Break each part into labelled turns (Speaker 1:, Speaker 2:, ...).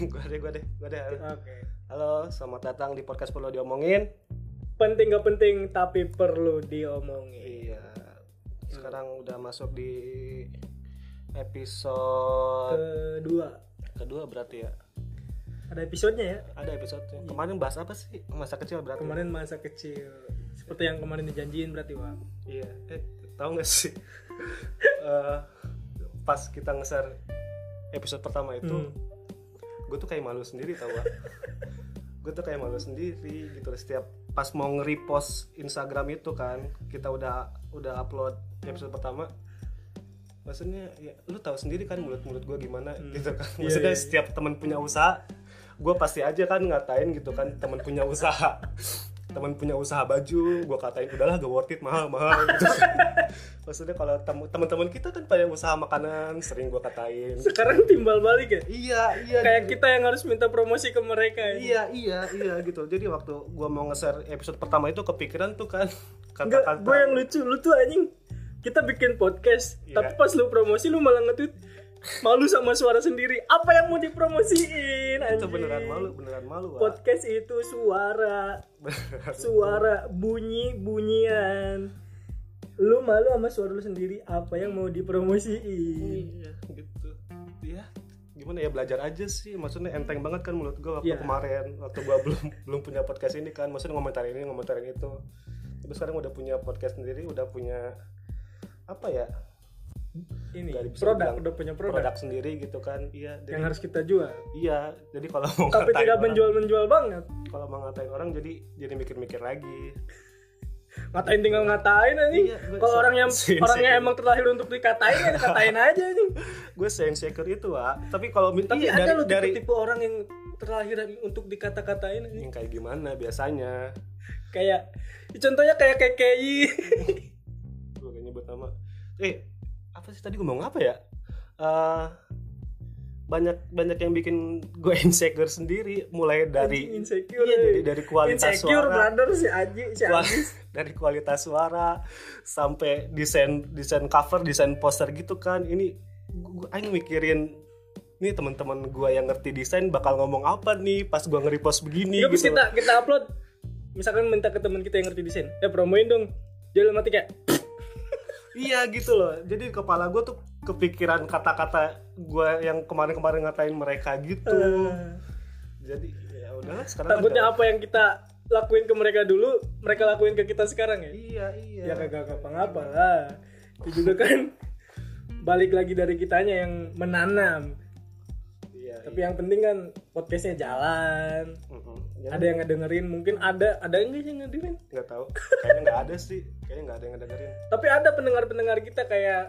Speaker 1: gue deh, gue deh, gue deh.
Speaker 2: Oke.
Speaker 1: Halo, selamat datang di podcast perlu diomongin.
Speaker 2: Penting gak penting tapi perlu diomongin.
Speaker 1: Iya. Sekarang udah masuk di episode
Speaker 2: Kedua,
Speaker 1: kedua berarti ya.
Speaker 2: ada episodenya ya.
Speaker 1: Ada episode kemarin bahas apa sih? Masa kecil berarti.
Speaker 2: Kemarin masa kecil. Seperti yang kemarin dijanjiin berarti, Wak.
Speaker 1: Iya. Eh, tahu nggak sih? Eh, pas kita ngeser episode pertama itu,
Speaker 2: Hmm.
Speaker 1: gue tuh kayak malu sendiri tau gak gue tuh kayak malu sendiri gitu setiap pas mau nge-repost Instagram itu kan kita udah udah upload episode pertama maksudnya ya lu tahu sendiri kan mulut-mulut gue gimana gitu kan
Speaker 2: Iya,
Speaker 1: maksudnya
Speaker 2: iya, iya.
Speaker 1: setiap temen punya usaha gue pasti aja kan ngatain gitu kan temen punya usaha temen punya usaha baju gue katain udahlah gak worth it mahal mahal gitu. maksudnya kalau tem- temen-temen kita kan pada usaha makanan sering gue katain
Speaker 2: Sekarang timbal balik ya.
Speaker 1: iya iya
Speaker 2: Kayak
Speaker 1: gitu.
Speaker 2: kita yang harus minta promosi ke mereka ya.
Speaker 1: Iya iya iya gitu. Jadi waktu gua mau nge-share episode pertama itu kepikiran tuh kan
Speaker 2: Enggak,
Speaker 1: kata-kata.
Speaker 2: gue yang lucu, lu tuh anjing. Kita bikin podcast,
Speaker 1: Iya.
Speaker 2: tapi pas lu promosi lu malah nge-tweet malu sama suara sendiri. Apa yang mau dipromosiin?
Speaker 1: itu
Speaker 2: Anjing?
Speaker 1: beneran malu, beneran malu. ah. Wak.
Speaker 2: Podcast itu suara, suara bunyi bunyian. Lu malu sama suara lu sendiri. Apa yang mau dipromosiin?
Speaker 1: Iya gitu. Iya gimana ya belajar aja sih maksudnya enteng banget kan mulut gua waktu
Speaker 2: Iya.
Speaker 1: kemarin waktu gua belum belum punya podcast ini kan maksudnya ngomentarin ini ngomentarin itu tapi sekarang udah punya podcast sendiri udah punya apa ya
Speaker 2: Ini
Speaker 1: Nggak bisa
Speaker 2: produk
Speaker 1: dibilang
Speaker 2: udah punya
Speaker 1: produk,
Speaker 2: produk
Speaker 1: sendiri gitu kan iya
Speaker 2: yang
Speaker 1: jadi,
Speaker 2: harus kita jual.
Speaker 1: iya jadi kalau mau
Speaker 2: Tapi
Speaker 1: ngatain
Speaker 2: tidak
Speaker 1: orang-
Speaker 2: menjual-menjual banget.
Speaker 1: kalau mau ngatain orang jadi jadi mikir-mikir lagi
Speaker 2: Ngatain tinggal ngatain anjing.
Speaker 1: Iya, gue-
Speaker 2: Kalau orang yang
Speaker 1: Sin-
Speaker 2: orangnya
Speaker 1: sin.
Speaker 2: emang terlahir untuk dikatain ya dikatain aja anjing.
Speaker 1: gue seinsiker itu wa tapi kalau minta
Speaker 2: Tapi
Speaker 1: iya,
Speaker 2: ada
Speaker 1: dari,
Speaker 2: loh
Speaker 1: dari
Speaker 2: tipe-tipe orang yang terlahir untuk dikata-katain anjing.
Speaker 1: yang kayak gimana biasanya
Speaker 2: Kayak contohnya kayak KKI.
Speaker 1: gue kayak nyebut nama eh apa sih tadi gue ngomong apa ya Eh, banyak banyak yang bikin gue insecure sendiri mulai dari
Speaker 2: insecure.
Speaker 1: iya, dari dari kualitas
Speaker 2: Insecure
Speaker 1: suara
Speaker 2: brother si Aji si
Speaker 1: Kual-
Speaker 2: Aji.
Speaker 1: dari kualitas suara sampai desain desain cover desain poster gitu kan ini gue aing mikirin nih teman-teman gue yang ngerti desain bakal ngomong apa nih pas gue nge-repost begini
Speaker 2: Nggak, terus
Speaker 1: gitu
Speaker 2: kita kita upload misalkan minta ke teman kita yang ngerti desain ya promoin dong dia dalam hati kayak
Speaker 1: Iya gitu loh. Jadi kepala gue tuh kepikiran kata-kata gue yang kemarin-kemarin ngatain mereka gitu.
Speaker 2: "Eh,
Speaker 1: Jadi ya udahlah sekarang
Speaker 2: takutnya
Speaker 1: ada-
Speaker 2: apa yang kita lakuin ke mereka dulu mereka lakuin ke kita sekarang ya
Speaker 1: Iya iya.
Speaker 2: ya kagak ngapa-ngapa lah itu juga kan balik lagi dari kitanya yang menanam
Speaker 1: Iya.
Speaker 2: tapi yang penting kan podcastnya jalan
Speaker 1: Mm-mm. Ya,
Speaker 2: ada yang ngedengerin mungkin ada ada enggak yang ngedengerin
Speaker 1: nggak tahu. Kayaknya nggak ada sih. Kayaknya nggak ada yang dengerin.
Speaker 2: tapi ada pendengar-pendengar kita kayak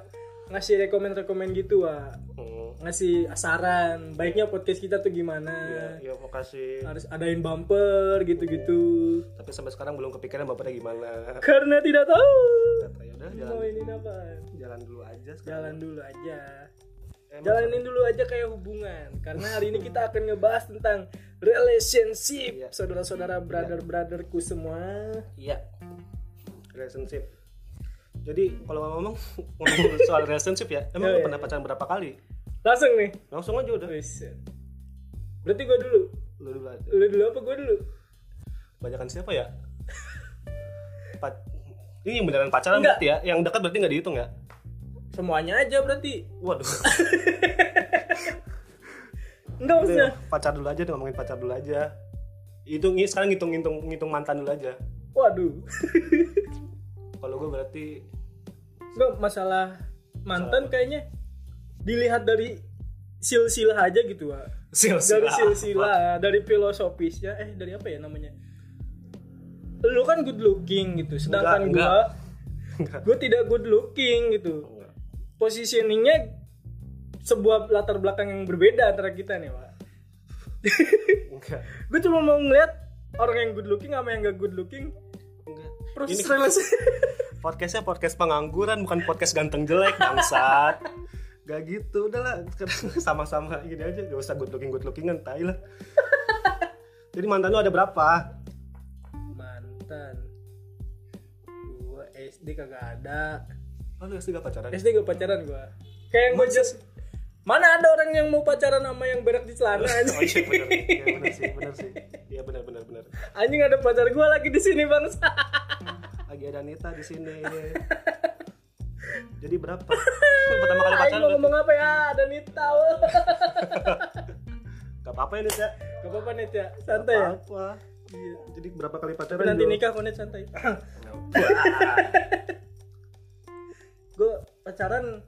Speaker 2: ngasih rekomend-rekomend gitu wah
Speaker 1: Hmm.
Speaker 2: ngasih saran baiknya podcast kita tuh gimana
Speaker 1: Iya, iya makasih.
Speaker 2: harus adain bumper gitu-gitu
Speaker 1: Tapi sampai sekarang belum kepikiran bapaknya gimana.
Speaker 2: karena tidak tahu
Speaker 1: Kata, Ya udah jalan
Speaker 2: mau ini apa
Speaker 1: jalan dulu aja sekarang. Eh,
Speaker 2: jalan dulu aja
Speaker 1: Emang
Speaker 2: jalanin dulu aja kayak hubungan karena hari ini kita akan ngebahas tentang relationship
Speaker 1: Iya.
Speaker 2: saudara-saudara brother-brotherku semua
Speaker 1: Iya. Relationship. Jadi kalau ngomong ngomong soal relationship ya, emang
Speaker 2: Iya,
Speaker 1: lu
Speaker 2: iya,
Speaker 1: pernah pacaran berapa kali?
Speaker 2: langsung nih
Speaker 1: Langsung aja udah.
Speaker 2: Wis. berarti gue dulu
Speaker 1: Lu dulu aja.
Speaker 2: lu dulu apa gue dulu
Speaker 1: Banyakan siapa ya? Pat- ini yang beneran pacaran
Speaker 2: Enggak.
Speaker 1: berarti ya? Yang dekat berarti nggak dihitung ya?
Speaker 2: semuanya aja berarti
Speaker 1: Waduh.
Speaker 2: enggak
Speaker 1: Udah,
Speaker 2: maksudnya
Speaker 1: pacar dulu aja, deh, ngomongin pacar dulu aja. Hitung ini sekarang ngitung ngitung ngitung mantan dulu aja.
Speaker 2: waduh
Speaker 1: Kalau gue berarti
Speaker 2: enggak masalah mantan kayaknya dilihat dari silsilah aja gitu Wak. dari
Speaker 1: silsilah.
Speaker 2: silsilah dari filosofisnya eh dari apa ya namanya lu kan good looking gitu sedangkan
Speaker 1: Enggak,
Speaker 2: gua gua tidak good looking gitu
Speaker 1: Enggak.
Speaker 2: positioningnya sebuah latar belakang yang berbeda antara kita nih pak
Speaker 1: Enggak.
Speaker 2: gua cuma mau ngeliat orang yang good looking sama yang gak good looking
Speaker 1: Enggak.
Speaker 2: proses
Speaker 1: Ini-
Speaker 2: relasi
Speaker 1: Podcastnya podcast pengangguran bukan podcast ganteng jelek bangsat. Gak gitu, udahlah sekarang sama-sama gini aja, gak usah good looking good lookingan, tai lah. Jadi mantan lu ada berapa?
Speaker 2: mantan gua SD kagak ada
Speaker 1: Oh, lu SD gak pacaran?
Speaker 2: SD gak pacaran gua kayak yang gua
Speaker 1: Masa
Speaker 2: jelas Mana ada orang yang mau pacaran sama yang berak di celana
Speaker 1: Oh iya
Speaker 2: anjing.
Speaker 1: benar, ya, benar sih, benar sih. Iya benar benar benar.
Speaker 2: Anjing ada pacar gua lagi di sini bang.
Speaker 1: Lagi ada Nita di sini. Jadi berapa? Pertama kali pacaran
Speaker 2: Aing mau
Speaker 1: berarti?
Speaker 2: ngomong apa ya? Ada Nita. wah.
Speaker 1: Gak apa-apa ya Nita.
Speaker 2: Gak apa-apa Nita,
Speaker 1: Gak
Speaker 2: santai ya.
Speaker 1: apa-apa.
Speaker 2: Iya.
Speaker 1: Jadi berapa kali
Speaker 2: Tapi
Speaker 1: pacaran?
Speaker 2: nanti
Speaker 1: Jo?
Speaker 2: nikah kok Nit santai.
Speaker 1: Wah.
Speaker 2: gue pacaran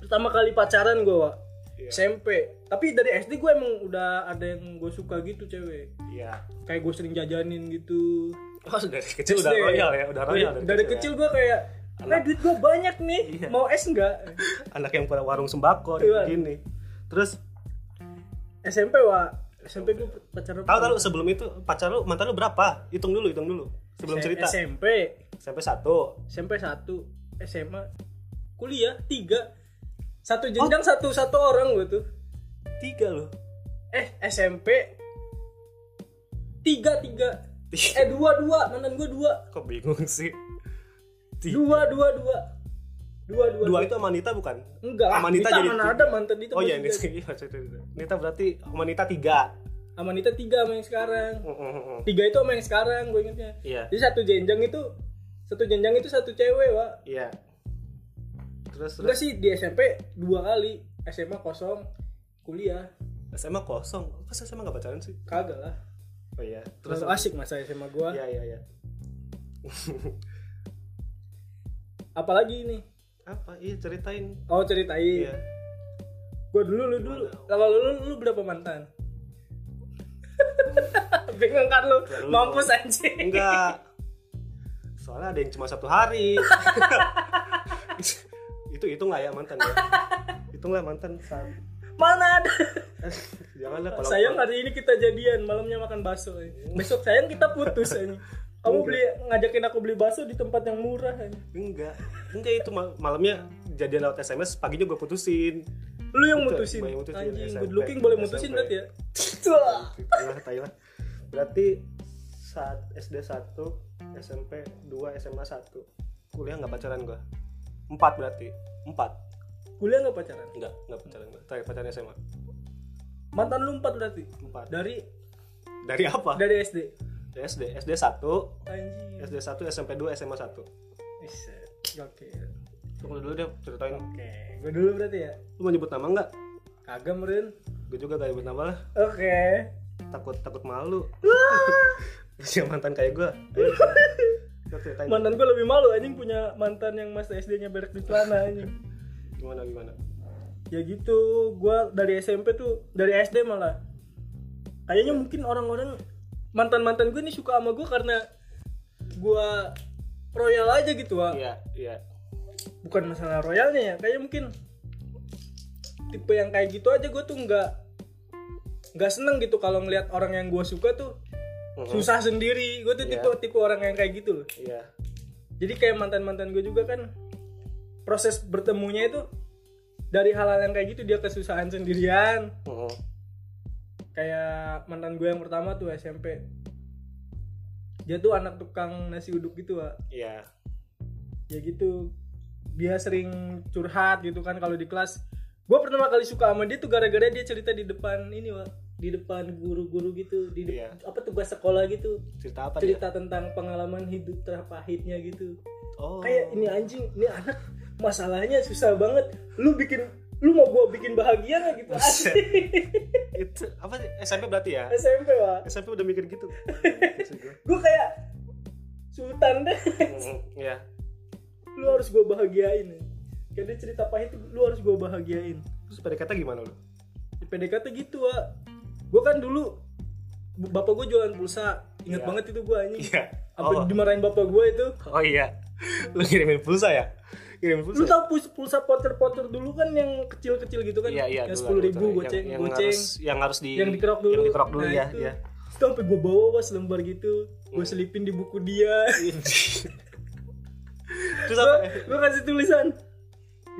Speaker 2: pertama kali pacaran gue Wak.
Speaker 1: Iya.
Speaker 2: SMP. Tapi dari SD gue emang udah ada yang gue suka gitu cewek.
Speaker 1: Iya.
Speaker 2: Kayak gue sering jajanin gitu.
Speaker 1: Oh, dari kecil
Speaker 2: SD.
Speaker 1: udah royal ya, udah royal
Speaker 2: Iya, Dari, dari kecil, gue kayak, eh duit gue banyak nih,
Speaker 1: Iya.
Speaker 2: mau es nggak?
Speaker 1: ya. Anak yang pada warung sembako
Speaker 2: Iya.
Speaker 1: gini. Terus
Speaker 2: SMP wa, SMP gue pacaran.
Speaker 1: tahu tahu sebelum itu pacar lu mantan lu berapa? Hitung dulu, hitung dulu. Sebelum
Speaker 2: Se-
Speaker 1: cerita.
Speaker 2: SMP,
Speaker 1: Sampai satu.
Speaker 2: SMP satu, SMA, kuliah tiga,
Speaker 1: Oh.
Speaker 2: satu jenjang satu satu orang gue tuh.
Speaker 1: Tiga loh.
Speaker 2: Eh SMP tiga tiga
Speaker 1: Tiga.
Speaker 2: eh dua dua mantan gue dua
Speaker 1: Kok bingung sih? Tiga.
Speaker 2: dua dua dua dua dua
Speaker 1: Dua itu sama Nita bukan?
Speaker 2: enggak
Speaker 1: sama Nita
Speaker 2: Nita
Speaker 1: jadi
Speaker 2: mana
Speaker 1: tiga.
Speaker 2: ada mantan Nita
Speaker 1: Oh iya,
Speaker 2: masih
Speaker 1: Nita. Iya, maksudnya itu. Nita berarti sama Nita tiga.
Speaker 2: jadi. sama Nita tiga sama yang sekarang
Speaker 1: Mm, mm, mm, mm.
Speaker 2: tiga itu sama yang sekarang gue ingetnya
Speaker 1: Iya.
Speaker 2: jadi satu jenjang itu satu jenjang itu satu cewek wa
Speaker 1: Iya. Terus terus
Speaker 2: enggak sih di SMP dua kali SMA kosong kuliah
Speaker 1: SMA kosong. Pas SMA gak pacaran sih?
Speaker 2: kagak lah
Speaker 1: Oh iya.
Speaker 2: terus
Speaker 1: Terus
Speaker 2: asik masa SMA gua
Speaker 1: Iya, iya, iya.
Speaker 2: apalagi ini
Speaker 1: Apa? Iya, ceritain.
Speaker 2: oh ceritain
Speaker 1: Iya.
Speaker 2: gua dulu lu dulu kalau lu lu berapa mantan bingung kan lu
Speaker 1: Lalu lu-
Speaker 2: mampus anjing
Speaker 1: Enggak. Soalnya ada yang cuma satu hari. itu hitung lah ya mantan ya. Hitunglah mantan. Sa-
Speaker 2: mana ada
Speaker 1: Janganlah kalau
Speaker 2: sayang hari ini kita jadian malamnya makan bakso ya. besok sayang kita putus ini kamu beli ngajakin aku beli bakso di tempat yang murah ya.
Speaker 1: enggak. Enggak itu mal- malamnya jadian lewat SMS, paginya gue putusin.
Speaker 2: lu yang
Speaker 1: Betul,
Speaker 2: mutusin
Speaker 1: gua yang mutusin,
Speaker 2: anjing
Speaker 1: SMP.
Speaker 2: good looking boleh mutusin
Speaker 1: SMP.
Speaker 2: berarti ya
Speaker 1: Tai Gitu lah, tai lah. Berarti saat SD 1, SMP 2, SMA 1. Kuliah nggak pacaran gua. 4 berarti. 4.
Speaker 2: kuliah nggak pacaran
Speaker 1: Enggak, enggak pacaran gua. Terakhir pacaran SMA.
Speaker 2: mantan lu empat berarti
Speaker 1: 4.
Speaker 2: dari
Speaker 1: Dari apa?
Speaker 2: dari SD
Speaker 1: Dari SD. SD 1,
Speaker 2: anjing
Speaker 1: SD 1, SMP 2, SMA 1.
Speaker 2: oke
Speaker 1: Tunggu dulu deh ceritain.
Speaker 2: oke gue dulu berarti ya
Speaker 1: Lu mau nyebut nama enggak?
Speaker 2: kagak meren
Speaker 1: Gue juga gak nyebut nama lah.
Speaker 2: oke
Speaker 1: Takut takut malu. Iya mantan kayak gua. Ayo. Lu ceritain
Speaker 2: mantan gue lebih malu anjing punya mantan yang masa SD nya berak di celana anjing
Speaker 1: gimana gimana.
Speaker 2: ya gitu gua dari SMP tuh dari SD malah kayaknya mungkin orang-orang mantan mantan gue nih suka sama gue karena gua royal aja gitu Wak.
Speaker 1: Iya, iya.
Speaker 2: bukan masalah royalnya ya kayaknya mungkin tipe yang kayak gitu aja gue tuh nggak nggak seneng gitu kalau ngelihat orang yang gue suka tuh
Speaker 1: Mhm.
Speaker 2: susah sendiri gue tuh
Speaker 1: Iya.
Speaker 2: tipe tipe orang yang kayak gitu loh
Speaker 1: Iya.
Speaker 2: jadi kayak mantan mantan gue juga kan proses bertemunya itu dari hal-hal yang kayak gitu dia kesusahan sendirian
Speaker 1: Mhm.
Speaker 2: kayak mantan gue yang pertama tuh SMP dia tuh anak tukang nasi uduk gitu Wak.
Speaker 1: Iya.
Speaker 2: ya gitu dia sering curhat gitu kan kalau di kelas gue pertama kali suka sama dia tuh gara-gara dia cerita di depan ini Wak. di depan guru-guru gitu di de-
Speaker 1: Iya.
Speaker 2: apa tugas sekolah gitu
Speaker 1: Cerita apa dia?
Speaker 2: cerita tentang pengalaman hidup terpahitnya gitu
Speaker 1: Oh.
Speaker 2: kayak ini anjing ini anak masalahnya susah banget lu bikin lu mau gua bikin bahagia nggak gitu
Speaker 1: Buset.
Speaker 2: Asik.
Speaker 1: itu apa sih? SMP berarti ya?
Speaker 2: SMP Wak.
Speaker 1: SMP udah mikir gitu.
Speaker 2: gue kayak sultan deh
Speaker 1: Mhm, Iya.
Speaker 2: lu harus gue bahagiain kayak dia cerita pahit lu harus gue bahagiain
Speaker 1: Terus PDKT gimana lu?
Speaker 2: di PDKT gitu wa gue kan dulu b- bapak gue jualan pulsa ingat
Speaker 1: Iya.
Speaker 2: banget itu gue anjing
Speaker 1: Iya. Oh.
Speaker 2: apa dimarahin bapak gue itu
Speaker 1: Oh iya. Lu kirimin pulsa ya? Kirimin pulsa.
Speaker 2: lu tau pulsa, pulsa pocer-pocer dulu kan yang kecil-kecil gitu kan
Speaker 1: Iya, iya.
Speaker 2: yang
Speaker 1: dulu
Speaker 2: sepuluh
Speaker 1: ada
Speaker 2: ribu
Speaker 1: pulsa.
Speaker 2: goceng
Speaker 1: yang, yang
Speaker 2: goceng
Speaker 1: Harus, yang harus di
Speaker 2: yang dikerok dulu
Speaker 1: Yang dikerok dulu
Speaker 2: Nah,
Speaker 1: ya,
Speaker 2: itu.
Speaker 1: iya. Hmm.
Speaker 2: itu sampai gue bawa was lembar gitu gue selipin di buku dia
Speaker 1: Terus apa?
Speaker 2: Gua- gua kasih tulisan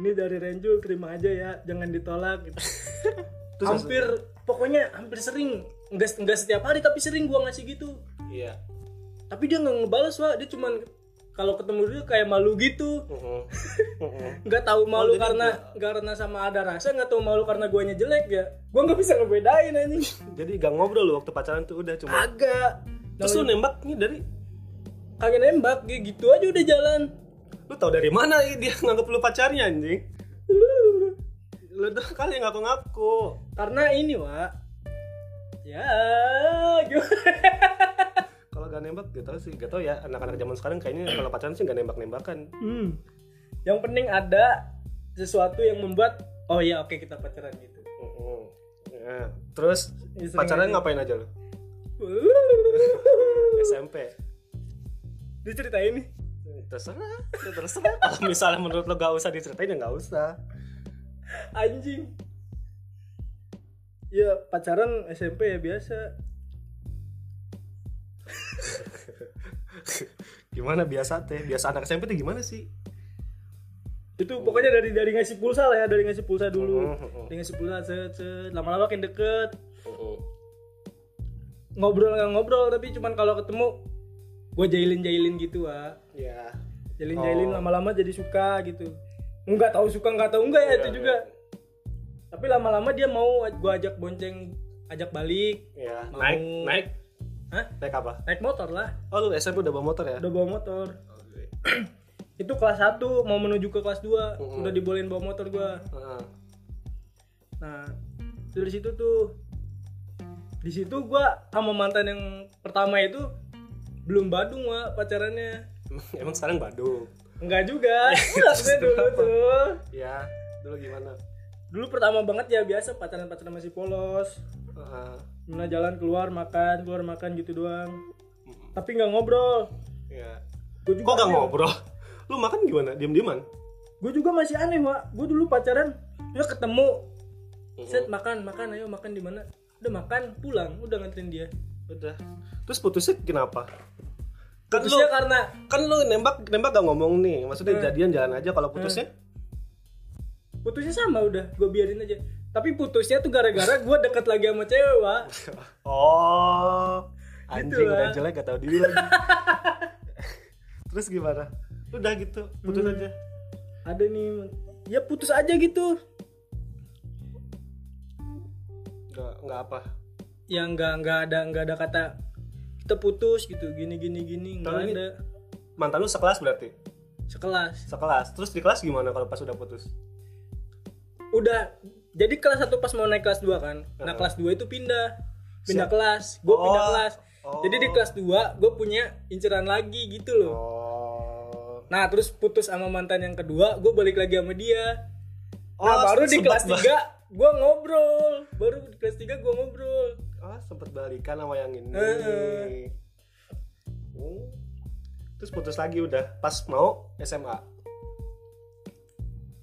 Speaker 2: ini dari Renjul terima aja ya jangan ditolak gitu.
Speaker 1: Terus
Speaker 2: hampir pokoknya hampir sering enggak enggak setiap hari tapi sering gua ngasih gitu
Speaker 1: Iya.
Speaker 2: tapi dia nggak ngebales wa dia cuman kalau ketemu dulu kayak malu gitu
Speaker 1: Mhm. Mhm.
Speaker 2: nggak tahu malu
Speaker 1: jadi
Speaker 2: karena nggak karena sama ada rasa nggak tahu malu karena guanya jelek ya gua nggak bisa ngebedain anjing
Speaker 1: Jadi gak ngobrol lu waktu pacaran tuh udah cuma.
Speaker 2: agak
Speaker 1: Terus lu nembaknya dari
Speaker 2: kagak nembak gi- gitu aja udah jalan
Speaker 1: lu tahu dari mana dia nganggap lu pacarnya anjing? Lu tuh kali yang ngaku-ngaku.
Speaker 2: karena ini wa ya gimana
Speaker 1: Kalau gak nembak gak tau sih, gak tau ya anak-anak zaman sekarang kayaknya kalau pacaran sih gak nembak-nembakan.
Speaker 2: hmm. yang penting ada sesuatu yang membuat oh ya oke kita pacaran gitu
Speaker 1: Mhm. Ya. Terus
Speaker 2: Ya, sering
Speaker 1: pacaran
Speaker 2: aja.
Speaker 1: ngapain aja lu? SMP.
Speaker 2: diceritain nih
Speaker 1: Terserah, ya terserah. Kalau misalnya menurut lo gak usah diceritain ya gak usah.
Speaker 2: anjing ya pacaran SMP ya biasa
Speaker 1: Gimana biasa teh? Biasa anak SMP tuh gimana sih?
Speaker 2: itu pokoknya dari dari ngasih pulsa lah ya dari ngasih pulsa
Speaker 1: Mhm,
Speaker 2: dulu
Speaker 1: mhm.
Speaker 2: dari ngasih pulsa set, set. lama-lama makin deket
Speaker 1: Mhm.
Speaker 2: ngobrol nggak ngobrol tapi cuman kalau ketemu gue jailin jailin gitu ah
Speaker 1: Ya.
Speaker 2: jailin jailin
Speaker 1: Oh.
Speaker 2: lama-lama jadi suka gitu nggak tahu suka nggak tahu
Speaker 1: Iya,
Speaker 2: enggak ya itu juga tapi lama-lama dia mau gue ajak bonceng ajak balik
Speaker 1: Ya,
Speaker 2: Mau-
Speaker 1: naik, naik.
Speaker 2: Hah?
Speaker 1: Naik apa?
Speaker 2: naik motor lah
Speaker 1: Oh, lu SMP udah bawa motor ya?
Speaker 2: udah bawa motor itu kelas 1 mau menuju ke kelas 2
Speaker 1: Mm-mm.
Speaker 2: udah dibolehin bawa motor gue
Speaker 1: Heeh.
Speaker 2: Nah, itu dari situ tuh di situ gua sama mantan yang pertama itu belum Badung wa pacarannya.
Speaker 1: Emang, emang sekarang Badung.
Speaker 2: Enggak juga. Maksudnya dulu tuh.
Speaker 1: Ya, dulu gimana?
Speaker 2: Dulu pertama banget ya biasa pacaran-pacaran masih polos.
Speaker 1: Heeh.
Speaker 2: Mana jalan keluar makan, keluar makan gitu doang. Tapi nggak ngobrol.
Speaker 1: ya.
Speaker 2: Gua juga
Speaker 1: Kok gak
Speaker 2: aneh.
Speaker 1: ngobrol? Lu makan gimana? Diam-diaman?
Speaker 2: Gua juga masih aneh, Wak. Gua dulu pacaran, ya ketemu, set makan, makan, ayo makan di mana? Udah makan, pulang, udah nganterin dia.
Speaker 1: Udah. Terus putusnya kenapa? Kan lu
Speaker 2: Terusnya karena
Speaker 1: kan lu nembak nembak gak ngomong nih.
Speaker 2: Hmm.
Speaker 1: Maksudnya jadian jalan aja kalau putusnya?
Speaker 2: putusnya sama udah gue biarin aja tapi putusnya tuh gara-gara gue deket lagi sama cewek wa
Speaker 1: Oh, anjing
Speaker 2: Gitu lah.
Speaker 1: udah jelek gak tau diri lagi. Terus gimana? Udah gitu, putus aja.
Speaker 2: ada nih ya putus aja gitu
Speaker 1: Gak, gak apa.
Speaker 2: ya nggak nggak ada nggak ada kata kita putus gitu gini gini gini nggak
Speaker 1: Tapi-
Speaker 2: ada
Speaker 1: Mantan lu sekelas berarti?
Speaker 2: sekelas
Speaker 1: Sekelas. Terus di kelas gimana kalau pas udah putus?
Speaker 2: udah jadi kelas satu pas mau naik kelas 2 kan
Speaker 1: Heeh.
Speaker 2: nah kelas 2 itu pindah pindah
Speaker 1: Siap.
Speaker 2: kelas gue pindah
Speaker 1: Oh.
Speaker 2: kelas
Speaker 1: Oh.
Speaker 2: jadi di kelas 2 gue punya inceran lagi gitu loh
Speaker 1: Oh.
Speaker 2: nah terus putus sama mantan yang kedua gue balik lagi sama dia
Speaker 1: Oh,
Speaker 2: nah, baru di
Speaker 1: sempet
Speaker 2: kelas
Speaker 1: ba-
Speaker 2: 3 gua ngobrol. Baru di kelas 3 gua ngobrol.
Speaker 1: Ah, sempet balikan sama yang ini.
Speaker 2: Heeh.
Speaker 1: Hmm. Terus putus lagi udah pas mau SMA.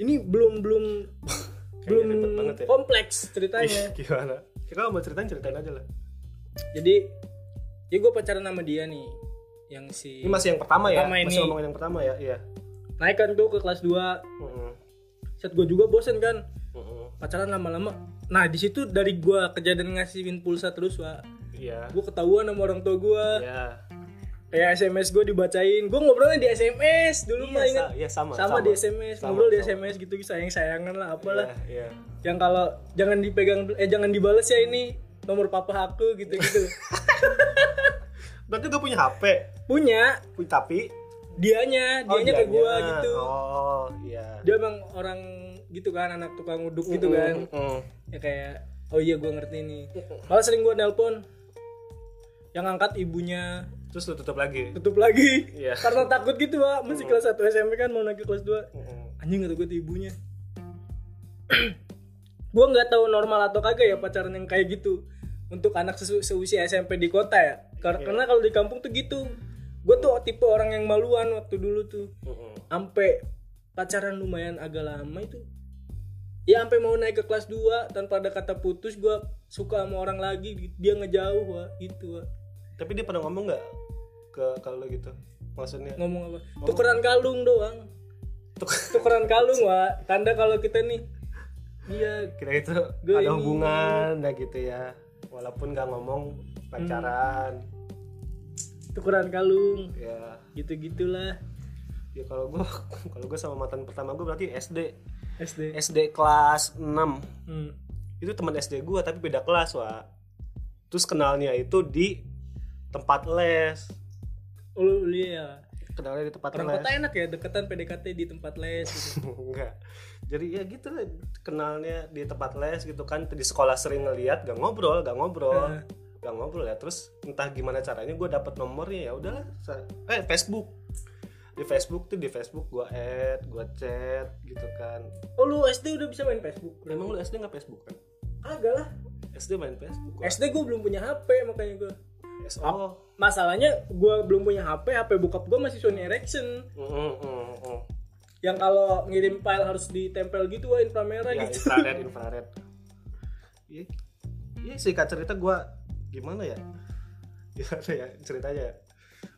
Speaker 2: Ini belum belum belum
Speaker 1: Kayaknya ribet banget ya.
Speaker 2: kompleks ceritanya.
Speaker 1: gimana? Ya, kalau mau ceritain ceritain aja lah.
Speaker 2: Jadi ya gua pacaran sama dia nih yang si
Speaker 1: Ini masih yang pertama ya.
Speaker 2: Iya. Pertama
Speaker 1: Masih
Speaker 2: ini.
Speaker 1: ngomongin yang pertama ya. Iya. Hmm,
Speaker 2: naik kan tuh ke kelas 2.
Speaker 1: Heeh.
Speaker 2: Set gua juga bosen kan
Speaker 1: Heeh.
Speaker 2: pacaran lama-lama. Nah, di situ dari gua kejadian ngasihin pulsa terus, Wak.
Speaker 1: Iya.
Speaker 2: Gua ketahuan sama orang tua gua.
Speaker 1: Iya.
Speaker 2: Kayak SMS gua dibacain. Gua ngobrolnya di SMS dulu
Speaker 1: Iya,
Speaker 2: mah ingat.
Speaker 1: sa- iya, sama,
Speaker 2: sama,
Speaker 1: sama.
Speaker 2: di SMS,
Speaker 1: Sama,
Speaker 2: ngobrol di
Speaker 1: sama.
Speaker 2: SMS gitu sayang-sayangan lah apalah.
Speaker 1: Iya.
Speaker 2: yang kalau jangan dipegang eh jangan dibales ya ini nomor papa aku gitu gitu
Speaker 1: Berarti gak punya HP.
Speaker 2: punya
Speaker 1: Punya tapi
Speaker 2: dianya dianya
Speaker 1: Oh,
Speaker 2: ke
Speaker 1: dianya.
Speaker 2: gua gitu
Speaker 1: Oh, iya. Mm,
Speaker 2: dia emang orang gitu kan anak tukang uduk gitu kan
Speaker 1: Mm-mm.
Speaker 2: ya kayak oh iya gua ngerti nih malah sering gua nelpon yang angkat ibunya
Speaker 1: Terus lu tutup lagi.
Speaker 2: tutup lagi
Speaker 1: Iya.
Speaker 2: karena takut gitu pak masih kelas 1 SMP kan mau naik ke kelas 2
Speaker 1: Mm-mm.
Speaker 2: anjing kata gue tuh ibunya gua nggak tahu normal atau kagak ya pacaran yang kayak gitu untuk anak sesu- seusia SMP di kota ya Kar- karena kalau di kampung tuh gitu gue tuh tipe orang yang maluan waktu dulu tuh
Speaker 1: Mm-mm.
Speaker 2: ampe pacaran lumayan agak lama itu ya ampe mau naik ke kelas 2 tanpa ada kata putus gua suka sama orang lagi dia ngejauh wa gitu wa.
Speaker 1: Tapi dia pernah ngomong nggak ke kalau gitu? Maksudnya
Speaker 2: ngomong apa tukeran kalung doang tukeran kalung wa tanda kalau kita nih iya
Speaker 1: kita itu
Speaker 2: Gua
Speaker 1: ada
Speaker 2: ini.
Speaker 1: hubungan ya gitu ya. Walaupun nggak ngomong pacaran,
Speaker 2: tukeran kalung
Speaker 1: ya
Speaker 2: gitu gitulah
Speaker 1: ya kalau gue kalau gue sama mantan pertama gue berarti SD
Speaker 2: SD
Speaker 1: SD kelas 6
Speaker 2: hmm.
Speaker 1: itu teman SD gue tapi beda kelas wa terus kenalnya itu di tempat les
Speaker 2: lu iya
Speaker 1: kenalnya di tempat
Speaker 2: orang
Speaker 1: les
Speaker 2: kota enak ya deketan PDKT di tempat les gitu.
Speaker 1: enggak jadi ya gitu lah, kenalnya di tempat les gitu kan di sekolah sering ngeliat gak ngobrol gak ngobrol
Speaker 2: Eh.
Speaker 1: gak ngobrol ya terus entah gimana caranya gue dapet nomornya ya udahlah sa- eh Facebook di Facebook tuh di Facebook gue add gue chat gitu kan
Speaker 2: oh lu SD udah bisa main Facebook
Speaker 1: emang lu SD nggak Facebook kan
Speaker 2: agak lah
Speaker 1: SD main Facebook gua.
Speaker 2: SD gue belum punya HP makanya gue
Speaker 1: SO
Speaker 2: masalahnya gue belum punya HP HP bokap gue masih Sony Ericsson
Speaker 1: Mm, mm, mm, mm.
Speaker 2: yang kalau ngirim file harus ditempel gitu wah inframerah
Speaker 1: ya
Speaker 2: gitu
Speaker 1: infrared infrared iya iya singkat cerita gua gimana ya gimana ya ceritanya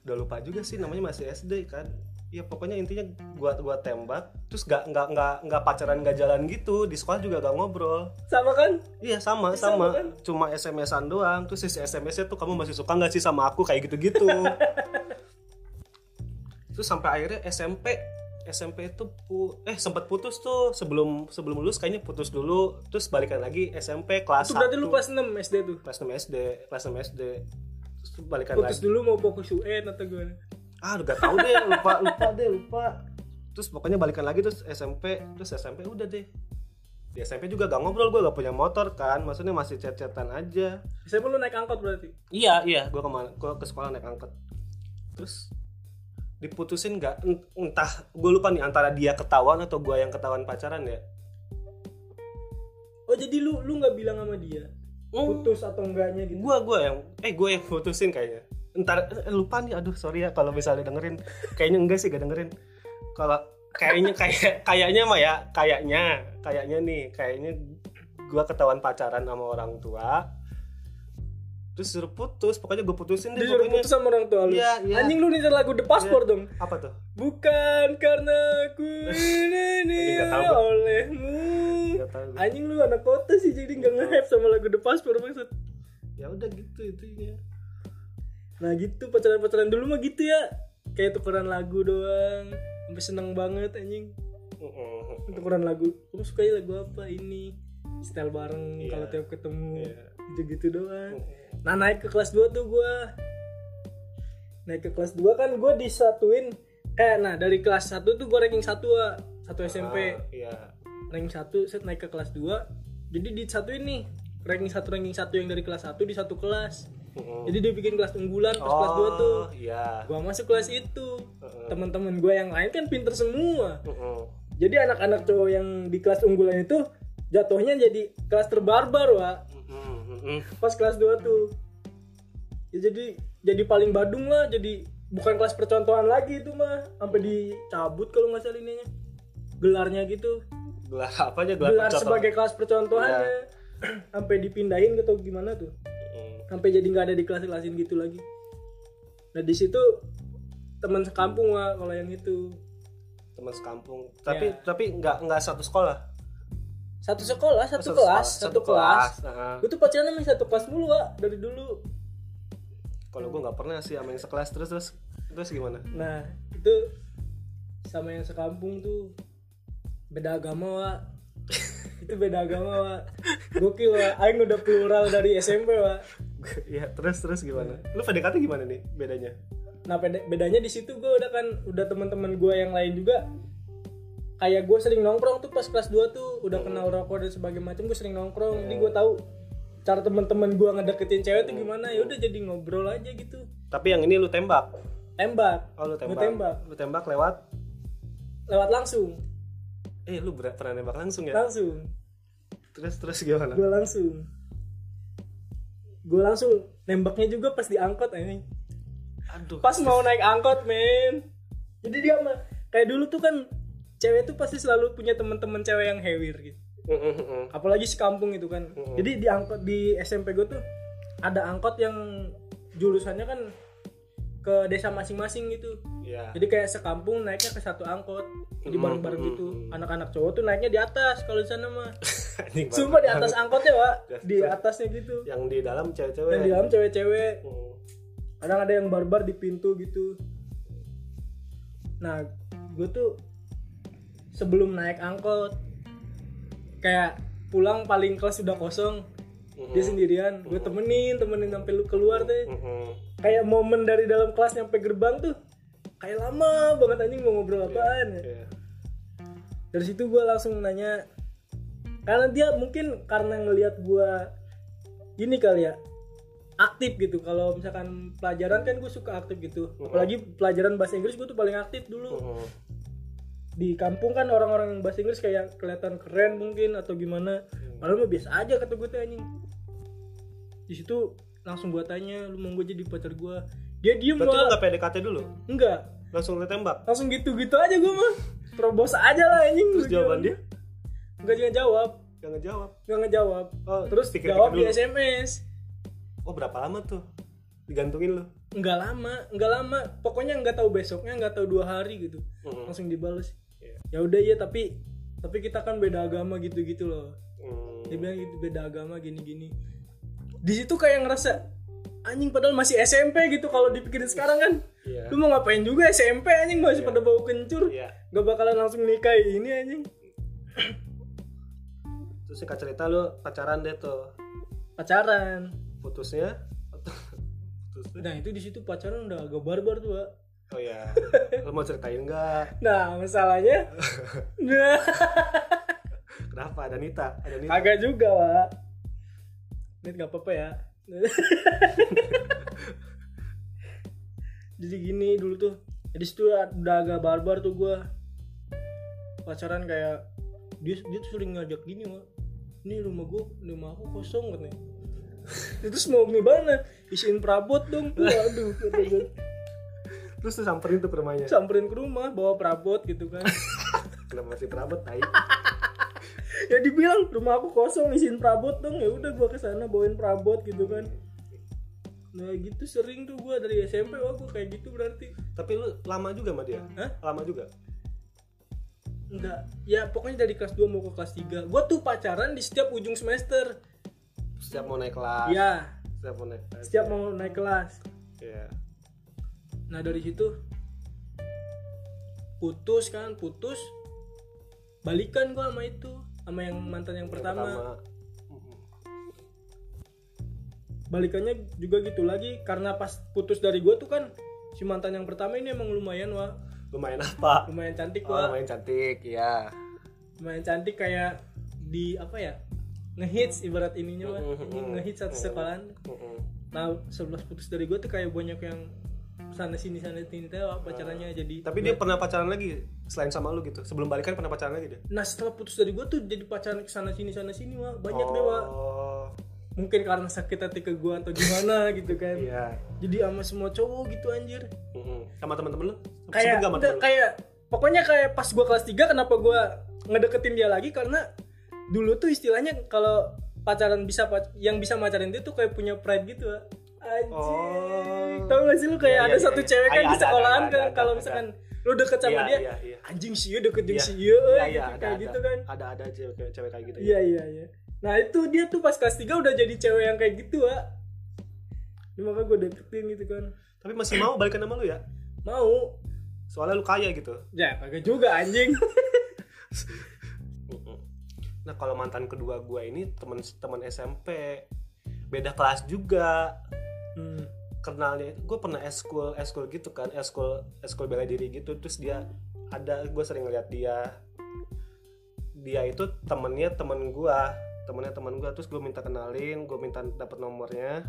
Speaker 1: udah lupa juga sih namanya masih SD kan Iya pokoknya intinya gua gua tembak terus gak nggak nggak nggak pacaran gak jalan gitu di sekolah juga gak ngobrol
Speaker 2: sama kan
Speaker 1: iya sama
Speaker 2: Iya, sama
Speaker 1: sama,
Speaker 2: kan?
Speaker 1: cuma SMS-an doang terus si SMS-nya tuh kamu masih suka nggak sih sama aku kayak gitu gitu terus sampai akhirnya SMP SMP itu pu- eh sempat putus tuh sebelum sebelum lulus kayaknya putus dulu terus balikan lagi SMP kelas
Speaker 2: itu berarti lu
Speaker 1: satu.
Speaker 2: pas 6 SD tuh
Speaker 1: kelas 6 SD kelas 6 SD terus balikan
Speaker 2: putus
Speaker 1: lagi
Speaker 2: dulu mau fokus UN atau gimana
Speaker 1: ah udah gak tau deh lupa lupa deh lupa terus pokoknya balikan lagi terus SMP terus SMP udah deh di SMP juga gak ngobrol gue gak punya motor kan maksudnya masih chat-chatan aja
Speaker 2: saya lu naik angkot berarti
Speaker 1: Iya iya, gue kemana? Gue ke sekolah naik angkot. Terus diputusin nggak? Ent- Entah, gue lupa nih antara dia ketahuan atau gue yang ketahuan pacaran ya.
Speaker 2: oh jadi lu lu nggak bilang sama dia
Speaker 1: Oh.
Speaker 2: putus atau enggaknya gitu
Speaker 1: Gue gue yang, eh gue yang putusin kayaknya. Entar eh, lupa nih, aduh sorry ya kalau misalnya dengerin, kayaknya enggak sih gak dengerin. Kalau kayaknya kayak kayaknya mah ya, kayaknya kayaknya nih, kayaknya gue ketahuan pacaran sama orang tua. Terus suruh putus, pokoknya gue putusin deh.
Speaker 2: dia suruh
Speaker 1: pokoknya.
Speaker 2: putus sama orang tua lu
Speaker 1: Iya, iya.
Speaker 2: anjing lu nyetel lagu The Passport dong
Speaker 1: Apa tuh?
Speaker 2: bukan karena aku ini
Speaker 1: Nggak tahu gua.
Speaker 2: olehmu
Speaker 1: Gak tahu. gua.
Speaker 2: anjing lu anak kota sih jadi nggak nge-hype sama lagu The Passport maksud
Speaker 1: Ya udah gitu intinya.
Speaker 2: Nah gitu pacaran-pacaran dulu mah gitu ya Kayak tukeran lagu doang Sampai seneng banget anjing
Speaker 1: Mm-mm.
Speaker 2: Tukeran lagu Kamu suka ya lagu apa ini Style bareng
Speaker 1: Iya.
Speaker 2: kalau tiap ketemu
Speaker 1: Iya.
Speaker 2: Gitu-gitu doang Nah naik ke kelas 2 tuh gua Naik ke kelas 2 kan gua disatuin Eh nah dari kelas 1 tuh gua ranking 1 ah Satu SMP
Speaker 1: Ah, Iya.
Speaker 2: ranking 1 set naik ke kelas 2 Jadi disatuin nih Ranking 1 ranking 1 yang dari kelas 1 di satu kelas
Speaker 1: Mm-mm.
Speaker 2: Jadi dia bikin kelas unggulan terus kelas 2 tuh
Speaker 1: Oh, Iya.
Speaker 2: gua masuk kelas itu
Speaker 1: Heeh.
Speaker 2: teman-teman gua yang lain kan pinter semua
Speaker 1: Mm-mm.
Speaker 2: jadi anak-anak cowok yang di kelas unggulan itu jatuhnya jadi kelas terbarbar wa
Speaker 1: Mm-mm. Mm-mm.
Speaker 2: pas kelas 2 tuh Ya jadi jadi paling badung lah jadi bukan kelas percontohan lagi itu mah sampai dicabut kalau nggak salah ininya gelarnya gitu
Speaker 1: Gelar apa aja gelar,
Speaker 2: gelar
Speaker 1: percontohan.
Speaker 2: sebagai kelas percontohannya sampai dipindahin gitu gimana tuh
Speaker 1: Mm.
Speaker 2: sampai jadi nggak ada di kelas-kelasin gitu lagi nah di situ teman sekampung lah kalau yang itu
Speaker 1: teman sekampung. Tapi
Speaker 2: Iya.
Speaker 1: tapi nggak nggak satu sekolah.
Speaker 2: satu sekolah satu,
Speaker 1: sekolah,
Speaker 2: kelas satu kelas,
Speaker 1: Ah,
Speaker 2: gue tuh pacaran sama yang satu kelas mulu Wak, dari dulu
Speaker 1: Kalau gue nggak pernah sih sama yang sekelas terus terus terus gimana?
Speaker 2: nah itu sama yang sekampung tuh beda agama wa itu beda agama wa gokil wa Aing udah plural dari SMP wa
Speaker 1: Iya terus terus gimana? Lu PDKT gimana nih bedanya?
Speaker 2: nah beda- bedanya di situ gue udah kan udah teman-teman gue yang lain juga kayak gue sering nongkrong tuh pas kelas 2 tuh udah kenal rokok dan sebagainya macam gue sering nongkrong jadi gue tahu cara teman-teman gue ngedeketin cewek tuh gimana ya udah jadi ngobrol aja gitu
Speaker 1: Tapi yang ini lu tembak.
Speaker 2: tembak
Speaker 1: Oh lu
Speaker 2: Gua
Speaker 1: tembak.
Speaker 2: tembak.
Speaker 1: Lu tembak lewat.
Speaker 2: lewat langsung
Speaker 1: Eh lu ber- pernah nembak langsung ya?
Speaker 2: langsung
Speaker 1: Terus terus gimana?
Speaker 2: gue langsung gue langsung nembaknya juga pas diangkot ini
Speaker 1: Aduh.
Speaker 2: pas mau naik angkot men jadi dia mah kayak dulu tuh kan cewek tuh pasti selalu punya temen-temen cewek yang hewir gitu
Speaker 1: Mm-mm, mm-mm.
Speaker 2: apalagi sekampung itu kan
Speaker 1: Mm-mm.
Speaker 2: jadi di angkot di SMP gue tuh ada angkot yang jurusannya kan ke desa masing-masing gitu
Speaker 1: Iya.
Speaker 2: jadi kayak sekampung naiknya ke satu angkot jadi
Speaker 1: Mm-mm,
Speaker 2: bareng-bareng
Speaker 1: mm-mm,
Speaker 2: gitu
Speaker 1: mm-mm.
Speaker 2: anak-anak cowok tuh naiknya di atas kalau di sana mah
Speaker 1: Anjing banget.
Speaker 2: Sumpah di atas angkotnya, Pak.
Speaker 1: Yes,
Speaker 2: Di
Speaker 1: yes.
Speaker 2: atasnya gitu.
Speaker 1: yang di dalam cewek-cewek
Speaker 2: Yang di dalam cewek-cewek,
Speaker 1: Mm.
Speaker 2: kadang ada yang barbar di pintu gitu. Nah, gue tuh sebelum naik angkot kayak pulang paling kelas udah kosong dia sendirian gue temenin temenin sampai lu keluar teh
Speaker 1: Mhm.
Speaker 2: kayak momen dari dalam kelas nyampe gerbang tuh kayak lama banget anjing mau ngobrol apaan ya
Speaker 1: Iya.
Speaker 2: dari situ gue langsung nanya karena dia mungkin karena ngelihat gue ini kali ya aktif gitu kalau misalkan pelajaran kan gue suka aktif gitu apalagi pelajaran bahasa Inggris gue tuh paling aktif dulu
Speaker 1: Mhm.
Speaker 2: di kampung kan orang-orang yang bahasa Inggris kayak kelihatan keren mungkin atau gimana padahal mah biasa aja kata gue tuh anjing di situ langsung gue tanya lu mau gue jadi pacar gue dia diem
Speaker 1: Berarti lu
Speaker 2: Wak.
Speaker 1: nggak PDKT dulu?
Speaker 2: enggak
Speaker 1: Langsung ditembak?
Speaker 2: langsung gitu-gitu aja gue mah terobos aja lah anjing
Speaker 1: Terus jawaban dia?
Speaker 2: enggak dia jawab
Speaker 1: Gak ngejawab
Speaker 2: nggak ngejawab
Speaker 1: Oh,
Speaker 2: terus
Speaker 1: pikir-pikir
Speaker 2: jawab di
Speaker 1: dulu.
Speaker 2: SMS
Speaker 1: Oh berapa lama tuh? Digantungin lu?
Speaker 2: nggak lama nggak lama pokoknya nggak tahu besoknya nggak tahu dua hari gitu
Speaker 1: Mhm.
Speaker 2: langsung dibales
Speaker 1: Iya.
Speaker 2: ya udah ya tapi tapi kita kan beda agama gitu gitu loh
Speaker 1: Hmm.
Speaker 2: dia bilang gitu beda agama gini gini di situ kayak ngerasa anjing padahal masih SMP gitu kalau dipikirin sekarang kan
Speaker 1: Iya
Speaker 2: lu mau ngapain juga SMP anjing masih pada bau kencur
Speaker 1: Iya
Speaker 2: nggak bakalan langsung nikah ini anjing
Speaker 1: Terus singkat cerita lu pacaran deh tuh
Speaker 2: pacaran
Speaker 1: Putusnya? Putusnya?
Speaker 2: nah itu di situ pacaran udah agak barbar tuh Wak.
Speaker 1: Oh iya Lu mau ceritain nggak?
Speaker 2: nah masalahnya nah
Speaker 1: Kenapa? Ada Nita? Ada Nita?
Speaker 2: Agak juga, Wak. Net gak apa-apa ya. Jadi gini dulu tuh. Jadi situ udah agak barbar tuh gua. Pacaran kayak dia dia tuh sering ngajak gini, Wak. Ini rumah gua, rumah aku kosong katanya. Terus mau gimana? Isiin perabot dong. Waduh, kata gua.
Speaker 1: Terus tuh samperin tuh ke rumahnya
Speaker 2: Samperin ke rumah, bawa perabot gitu kan.
Speaker 1: Kenapa masih perabot? Tai
Speaker 2: ya dibilang rumah aku kosong isiin perabot dong ya udah gua kesana bawain perabot gitu kan nah gitu sering tuh gua dari SMP wah gua kayak gitu berarti
Speaker 1: Tapi lu lama juga sama dia?
Speaker 2: Hah?
Speaker 1: Lama juga?
Speaker 2: enggak ya pokoknya dari kelas 2 mau ke kelas 3 gua tuh pacaran di setiap ujung semester
Speaker 1: Setiap mau naik kelas
Speaker 2: ya
Speaker 1: Setiap mau naik kelas
Speaker 2: setiap mau naik kelas
Speaker 1: Iya
Speaker 2: nah dari situ putus kan putus balikan gua sama itu sama yang mantan yang
Speaker 1: Yang
Speaker 2: pertama.
Speaker 1: Mhm.
Speaker 2: balikannya juga gitu lagi karena pas putus dari gua tuh kan si mantan yang pertama ini emang lumayan wah
Speaker 1: Lumayan apa?
Speaker 2: lumayan cantik
Speaker 1: Oh,
Speaker 2: wah
Speaker 1: lumayan cantik, ya.
Speaker 2: lumayan cantik kayak di apa ya ngehits ibarat ininya wah
Speaker 1: Mm-mm.
Speaker 2: ini ngehits
Speaker 1: Mm-hmm.
Speaker 2: satu sekolahan nah sebelas putus dari gue tuh kayak banyak yang sana sini sana sini teh Wak, pacarannya jadi
Speaker 1: Mm-hmm. Tapi dia pernah pacaran lagi selain sama lu gitu. Sebelum balikan pernah pacaran lagi dia?
Speaker 2: nah setelah putus dari gue tuh jadi pacaran sana sini sana sini wah banyak deh wah
Speaker 1: Oh,
Speaker 2: mungkin karena sakit hati ke gue atau gimana gitu kan
Speaker 1: iya.
Speaker 2: jadi sama semua cowok gitu anjir
Speaker 1: Mhm. Sama teman-teman lu?
Speaker 2: kayak
Speaker 1: Sebut nggak sama
Speaker 2: udah,
Speaker 1: temen lu?
Speaker 2: kayak pokoknya kayak pas gua kelas 3 kenapa gua ngedeketin dia lagi karena dulu tuh istilahnya kalau pacaran bisa pac- yang bisa pacaran dia tuh kayak punya pride gitu Wak. anjing
Speaker 1: Oh.
Speaker 2: tau gak sih lu kayak
Speaker 1: Iya,
Speaker 2: ada
Speaker 1: iya,
Speaker 2: satu
Speaker 1: iya.
Speaker 2: cewek kan
Speaker 1: Ada,
Speaker 2: di
Speaker 1: ada,
Speaker 2: sekolahan
Speaker 1: ada,
Speaker 2: kan
Speaker 1: ada,
Speaker 2: kalau
Speaker 1: ada.
Speaker 2: misalkan lu deket sama
Speaker 1: Iya,
Speaker 2: dia
Speaker 1: iya, iya.
Speaker 2: anjing si Yu deketin
Speaker 1: Iya.
Speaker 2: si
Speaker 1: Iya,
Speaker 2: Yu eh,
Speaker 1: iya,
Speaker 2: gitu,
Speaker 1: ada,
Speaker 2: kayak
Speaker 1: ada.
Speaker 2: gitu kan
Speaker 1: Ada ada cewek cewek kayak gitu ya.
Speaker 2: iya iya iya nah itu dia tuh pas kelas 3 udah jadi cewek yang kayak gitu Wak. Ini makanya gue deketin gitu kan
Speaker 1: Tapi masih mau balikan sama lu ya?
Speaker 2: mau
Speaker 1: Soalnya lu kaya gitu.
Speaker 2: ya kagak juga anjing
Speaker 1: Mhm. Nah, kalau mantan kedua gua ini teman teman SMP. Beda kelas juga.
Speaker 2: Hmm.
Speaker 1: kenalnya gue pernah eskul eskul gitu kan eskul eskul bela diri gitu terus dia ada gue sering ngeliat dia dia itu temennya temen gue temennya temen gue terus gue minta kenalin gue minta dapet nomornya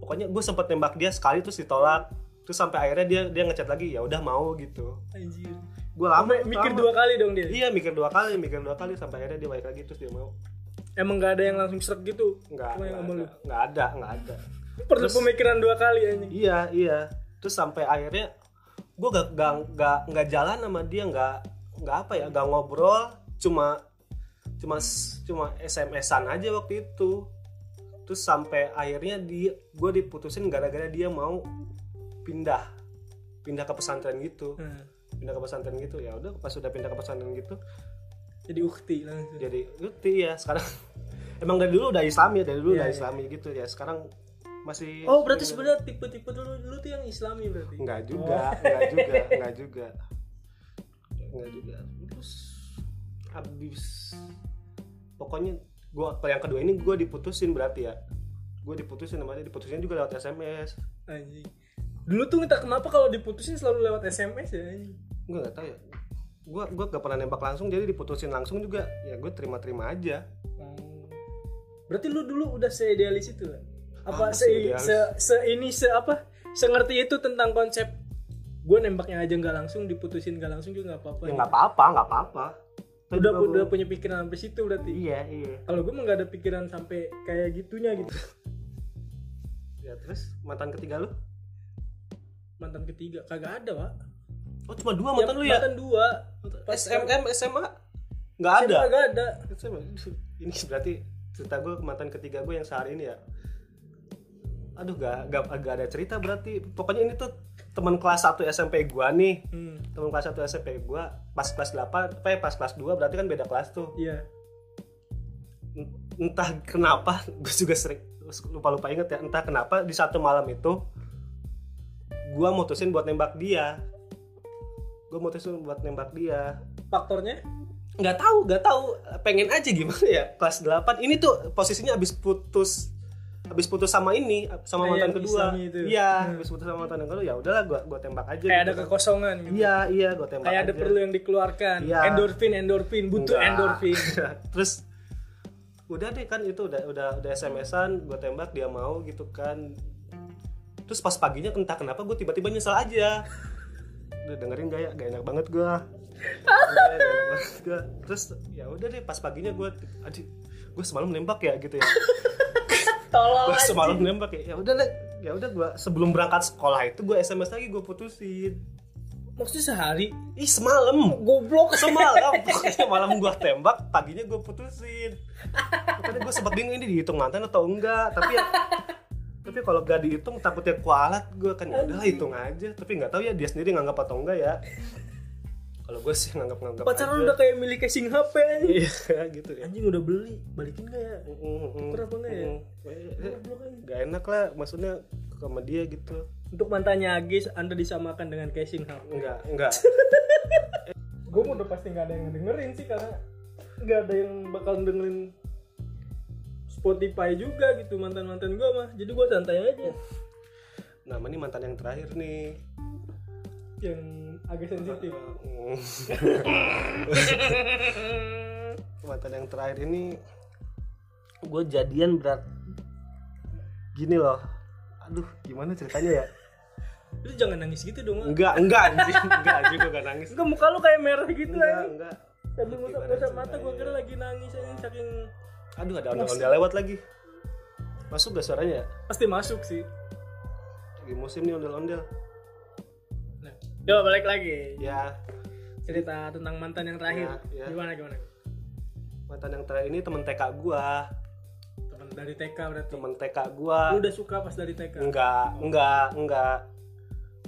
Speaker 1: pokoknya gue sempet nembak dia sekali terus ditolak terus sampai akhirnya dia dia ngechat lagi ya udah mau gitu
Speaker 2: anjir
Speaker 1: gue lama
Speaker 2: Sampai mikir
Speaker 1: lama.
Speaker 2: dua kali dong dia.
Speaker 1: iya mikir dua kali mikir dua kali sampai akhirnya dia balik lagi terus dia mau
Speaker 2: Emang gak ada yang langsung srek gitu.
Speaker 1: nggak
Speaker 2: Cuma yang sama lu.
Speaker 1: nggak nggak ada nggak ada
Speaker 2: Perlu pemikiran dua kali anjing.
Speaker 1: Iya iya. Terus sampai akhirnya gue gak gak gak nggak jalan sama dia nggak nggak apa ya nggak ngobrol cuma cuma s- cuma SMS-an aja waktu itu. Terus sampai akhirnya dia gue diputusin gara-gara dia mau pindah pindah ke pesantren gitu
Speaker 2: Nah,
Speaker 1: pindah ke pesantren gitu ya udah pas udah pindah ke pesantren gitu
Speaker 2: jadi ukti langsung.
Speaker 1: jadi Luti ya sekarang emang dari dulu udah Islami ya dari dulu
Speaker 2: Iya,
Speaker 1: udah
Speaker 2: iya.
Speaker 1: Islami gitu ya sekarang masih
Speaker 2: Oh berarti sebenarnya tipe-tipe dulu dulu tuh yang Islami berarti.
Speaker 1: Enggak juga, enggak juga, enggak juga. Enggak juga. Terus abis pokoknya gua kalau yang kedua ini gua diputusin berarti ya. Gua diputusin namanya diputusin juga lewat SMS.
Speaker 2: Anjing. Dulu tuh entah kenapa kalau diputusin selalu lewat SMS ya anjing.
Speaker 1: Gua nggak tahu ya. Gua gua gak pernah nembak langsung jadi diputusin langsung juga. Ya gue terima-terima aja.
Speaker 2: Berarti lu dulu udah seidealis itu kan?
Speaker 1: Ah,
Speaker 2: Apa se,
Speaker 1: seidealis.
Speaker 2: se, se- ini se apa? Se ngerti itu tentang konsep gue nembaknya aja nggak langsung diputusin nggak langsung juga nggak apa-apa.
Speaker 1: Ya nggak apa-apa, nggak apa-apa. Tapi
Speaker 2: udah
Speaker 1: gua-
Speaker 2: udah punya pikiran sampai situ berarti.
Speaker 1: Iya, iya.
Speaker 2: Kalau gue mah nggak ada pikiran sampai kayak gitunya gitu.
Speaker 1: Ya terus mantan ketiga lu?
Speaker 2: Mantan ketiga kagak ada, Pak.
Speaker 1: Oh cuma dua mantan lu ya?
Speaker 2: Mantan dua.
Speaker 1: SMM, SMA? Nggak ada.
Speaker 2: Kagak ada.
Speaker 1: Coba, ini berarti cerita gue mantan ketiga gue yang sehari ini ya aduh gak, gak, gak ada cerita berarti pokoknya ini tuh teman kelas 1 SMP gue nih
Speaker 2: Hmm.
Speaker 1: teman kelas 1 SMP gue pas kelas 8 apa ya, pas kelas 2 berarti kan beda kelas tuh
Speaker 2: Iya.
Speaker 1: entah kenapa gue juga sering lupa lupa inget ya entah kenapa di satu malam itu gue mutusin buat nembak dia gue mutusin buat nembak dia
Speaker 2: Faktornya?
Speaker 1: nggak tahu nggak tahu pengen aja gimana ya kelas 8 ini tuh posisinya abis putus abis putus sama ini sama
Speaker 2: Kayak
Speaker 1: mantan
Speaker 2: yang
Speaker 1: kedua
Speaker 2: Islami itu.
Speaker 1: iya
Speaker 2: Hmm.
Speaker 1: abis putus sama mantan yang kedua ya udahlah gua gua tembak aja
Speaker 2: Kayak
Speaker 1: gitu
Speaker 2: ada
Speaker 1: kan.
Speaker 2: kekosongan gitu.
Speaker 1: iya iya gua tembak
Speaker 2: Kayak ada
Speaker 1: aja.
Speaker 2: perlu yang dikeluarkan.
Speaker 1: Iya.
Speaker 2: Endorfin, endorfin, butuh
Speaker 1: Enggak.
Speaker 2: endorfin.
Speaker 1: terus udah deh kan itu udah udah udah SMS-an gua tembak dia mau gitu kan terus pas paginya entah kenapa gue tiba-tiba nyesel aja udah dengerin gak ya gak enak banget gue terus ya udah deh pas paginya gue adik gue semalam nembak ya gitu ya
Speaker 2: Tolol
Speaker 1: gue semalam nembak ya ya udah deh ya udah gue sebelum berangkat sekolah itu gue sms lagi gue putusin
Speaker 2: Maksudnya sehari
Speaker 1: ih semalam
Speaker 2: goblok.
Speaker 1: semalam pokoknya malam gua tembak paginya gua putusin makanya gua sempat bingung ini dihitung mantan atau enggak tapi ya tapi kalau gak dihitung takutnya kualat gua kan ya udahlah hitung aja tapi nggak tahu ya dia sendiri nganggap atau enggak ya kalau gua sih nganggap nganggap
Speaker 2: Pacaran udah kayak milik casing HP anjing.
Speaker 1: iya gitu ya
Speaker 2: Anjing udah beli, balikin gak ya? Kurang apa enggak ya? Goblok anjing.
Speaker 1: gak enak lah maksudnya sama dia gitu
Speaker 2: Untuk mantannya Agis, Anda disamakan dengan casing HP.
Speaker 1: enggak enggak
Speaker 2: Gue udah pasti nggak ada yang dengerin sih karena nggak ada yang bakal dengerin Spotify juga gitu mantan-mantan gue mah. Jadi gue santai aja.
Speaker 1: nah ini mantan yang terakhir nih
Speaker 2: Yang agak
Speaker 1: Iya.
Speaker 2: sensitif.
Speaker 1: mantan yang terakhir ini gue jadian berat gini loh aduh gimana ceritanya ya
Speaker 2: Lu jangan nangis gitu dong. Enggak,
Speaker 1: enggak enggak anjing enggak anjing gue gak nangis
Speaker 2: muka lu kayak merah gitu
Speaker 1: enggak
Speaker 2: anjing.
Speaker 1: enggak
Speaker 2: Sambil ngusap-ngusap mata gue
Speaker 1: Gimana
Speaker 2: kira lagi nangis anjing saking
Speaker 1: aduh ada ondel-ondel lewat lagi masuk gak suaranya ya?
Speaker 2: pasti masuk sih.
Speaker 1: lagi musim nih ondel-ondel
Speaker 2: Nah, coba balik lagi.
Speaker 1: ya
Speaker 2: Cerita tentang mantan yang terakhir.
Speaker 1: Ya, ya.
Speaker 2: Gimana gimana?
Speaker 1: mantan yang terakhir ini temen TK gua
Speaker 2: Temen dari TK berarti.
Speaker 1: temen TK gua
Speaker 2: Lu udah suka pas dari TK
Speaker 1: enggak enggak enggak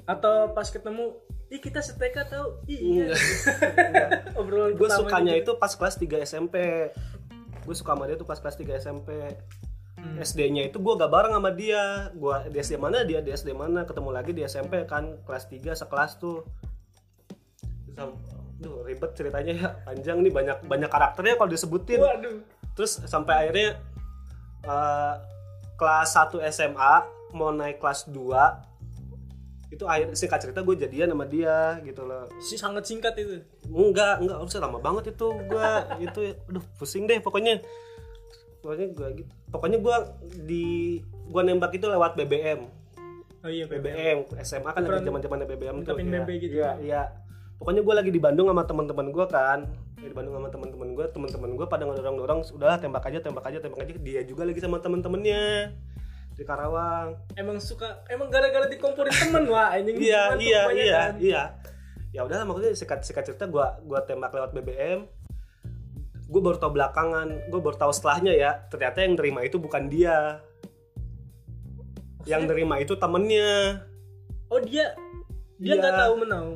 Speaker 2: atau pas ketemu ih kita seteka tau ih iya
Speaker 1: enggak, enggak.
Speaker 2: obrolan
Speaker 1: gue
Speaker 2: pertamanya
Speaker 1: sukanya
Speaker 2: gitu.
Speaker 1: itu pas kelas 3 SMP gue suka sama dia tuh pas kelas 3 SMP
Speaker 2: Hmm.
Speaker 1: SD-nya itu gue gak bareng sama dia gue di SD mana dia di SD mana ketemu lagi di SMP kan kelas 3 sekelas tuh Sam- Duh, ribet ceritanya ya panjang nih banyak banyak karakternya kalau disebutin
Speaker 2: waduh
Speaker 1: terus sampai akhirnya eh, kelas 1 SMA mau naik kelas 2 itu akhir singkat cerita gue jadian sama dia gitu loh
Speaker 2: si sangat singkat itu
Speaker 1: enggak enggak harusnya lama banget itu gua itu aduh pusing deh pokoknya pokoknya gua gitu pokoknya gua di gua nembak itu lewat BBM
Speaker 2: oh iya bebek
Speaker 1: BBM SMA kan lagi
Speaker 2: Ukuran-
Speaker 1: zaman zamannya BBM tuh
Speaker 2: ungkapin
Speaker 1: iya.
Speaker 2: BB gitu.
Speaker 1: iya iya pokoknya gua lagi di Bandung sama teman-teman gua kan di Bandung sama teman-teman gua teman-teman gua pada ngedorong-dorong udahlah tembak aja tembak aja tembak aja dia juga lagi sama teman-temannya di Karawang
Speaker 2: emang suka emang gara-gara dikomporin temen wah anjing
Speaker 1: iya
Speaker 2: Mantuk
Speaker 1: iya
Speaker 2: banyak
Speaker 1: iya
Speaker 2: kan.
Speaker 1: iya ya udahlah maksudnya sikat sikat cerita gua gua tembak lewat BBM gue baru tahu belakangan gue baru tahu setelahnya ya ternyata yang nerima itu bukan dia yang nerima itu temennya
Speaker 2: oh dia dia
Speaker 1: Iya.
Speaker 2: nggak tahu menau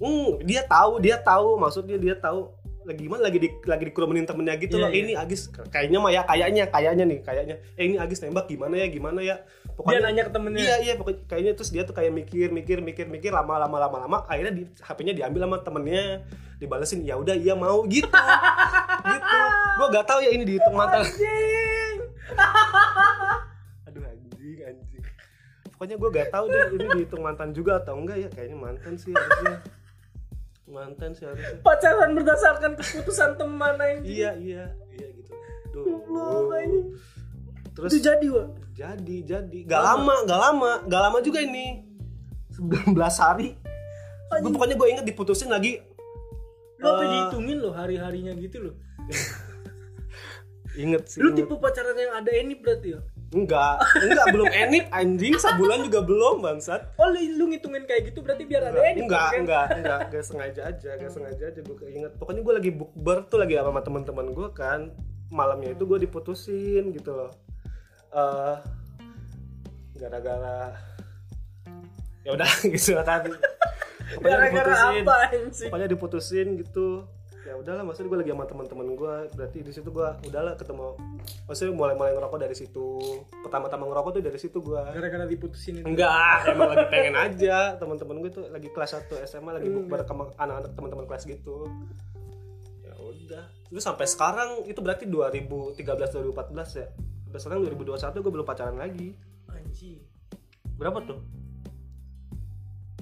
Speaker 1: hmm, dia tahu dia tahu maksudnya dia tahu lagi gimana lagi di lagi dikerumenin temennya gitu
Speaker 2: Iya,
Speaker 1: loh
Speaker 2: iya.
Speaker 1: ini Agis kayaknya mah ya kayaknya kayaknya nih kayaknya eh ini Agis nembak gimana ya gimana ya
Speaker 2: dia
Speaker 1: pokoknya
Speaker 2: nanya ke temennya
Speaker 1: iya iya pokoknya kayaknya terus dia tuh kayak mikir mikir mikir mikir lama lama lama lama akhirnya di, HP-nya diambil sama temennya dibalesin ya udah iya mau gitu gitu gua gak tahu ya ini dihitung mata
Speaker 2: Anjing.
Speaker 1: aduh anjing anjing pokoknya gue gak tahu deh ini dihitung mantan juga atau enggak ya kayaknya mantan sih harusnya mantan sih harusnya
Speaker 2: pacaran berdasarkan keputusan teman anjing
Speaker 1: iya iya iya gitu
Speaker 2: Goblok, anjing.
Speaker 1: terus
Speaker 2: itu jadi wa
Speaker 1: jadi jadi gak lama gak lama gak lama juga ini 19 hari gue
Speaker 2: Anjing.
Speaker 1: pokoknya gue inget diputusin lagi
Speaker 2: lu apa
Speaker 1: Eh.
Speaker 2: dihitungin lo hari harinya gitu lo
Speaker 1: inget sih
Speaker 2: lu
Speaker 1: inget.
Speaker 2: tipe pacaran yang ada ini berarti ya
Speaker 1: enggak enggak belum enip anjing sebulan juga belum bangsat
Speaker 2: oh lu, lu ngitungin kayak gitu berarti biar ada
Speaker 1: enggak,
Speaker 2: ini
Speaker 1: enggak,
Speaker 2: kan?
Speaker 1: enggak, enggak, enggak sengaja aja, enggak sengaja aja gue keinget. Pokoknya gue lagi bukber tuh lagi sama teman-teman gue kan. Malamnya itu gue diputusin gitu loh. Eh gara-gara ya udah gitu lah kan. Pokoknya
Speaker 2: gara-gara
Speaker 1: diputusin.
Speaker 2: apa anjing
Speaker 1: Pokoknya diputusin gitu. Ya udahlah, maksudnya gue lagi sama teman-teman gue. Berarti di situ gue udahlah ketemu. Maksudnya mulai-mulai ngerokok dari situ. Pertama-tama ngerokok tuh dari situ gue.
Speaker 2: gara-gara diputusin itu
Speaker 1: Enggak, emang lagi pengen aja. Teman-teman gue tuh lagi kelas 1 SMA lagi bukber sama anak-anak teman-teman kelas gitu. Ya udah. Terus sampai sekarang itu berarti 2013 2014 ya. Sampai sekarang 2021 gue belum pacaran lagi.
Speaker 2: anjing
Speaker 1: Berapa tuh?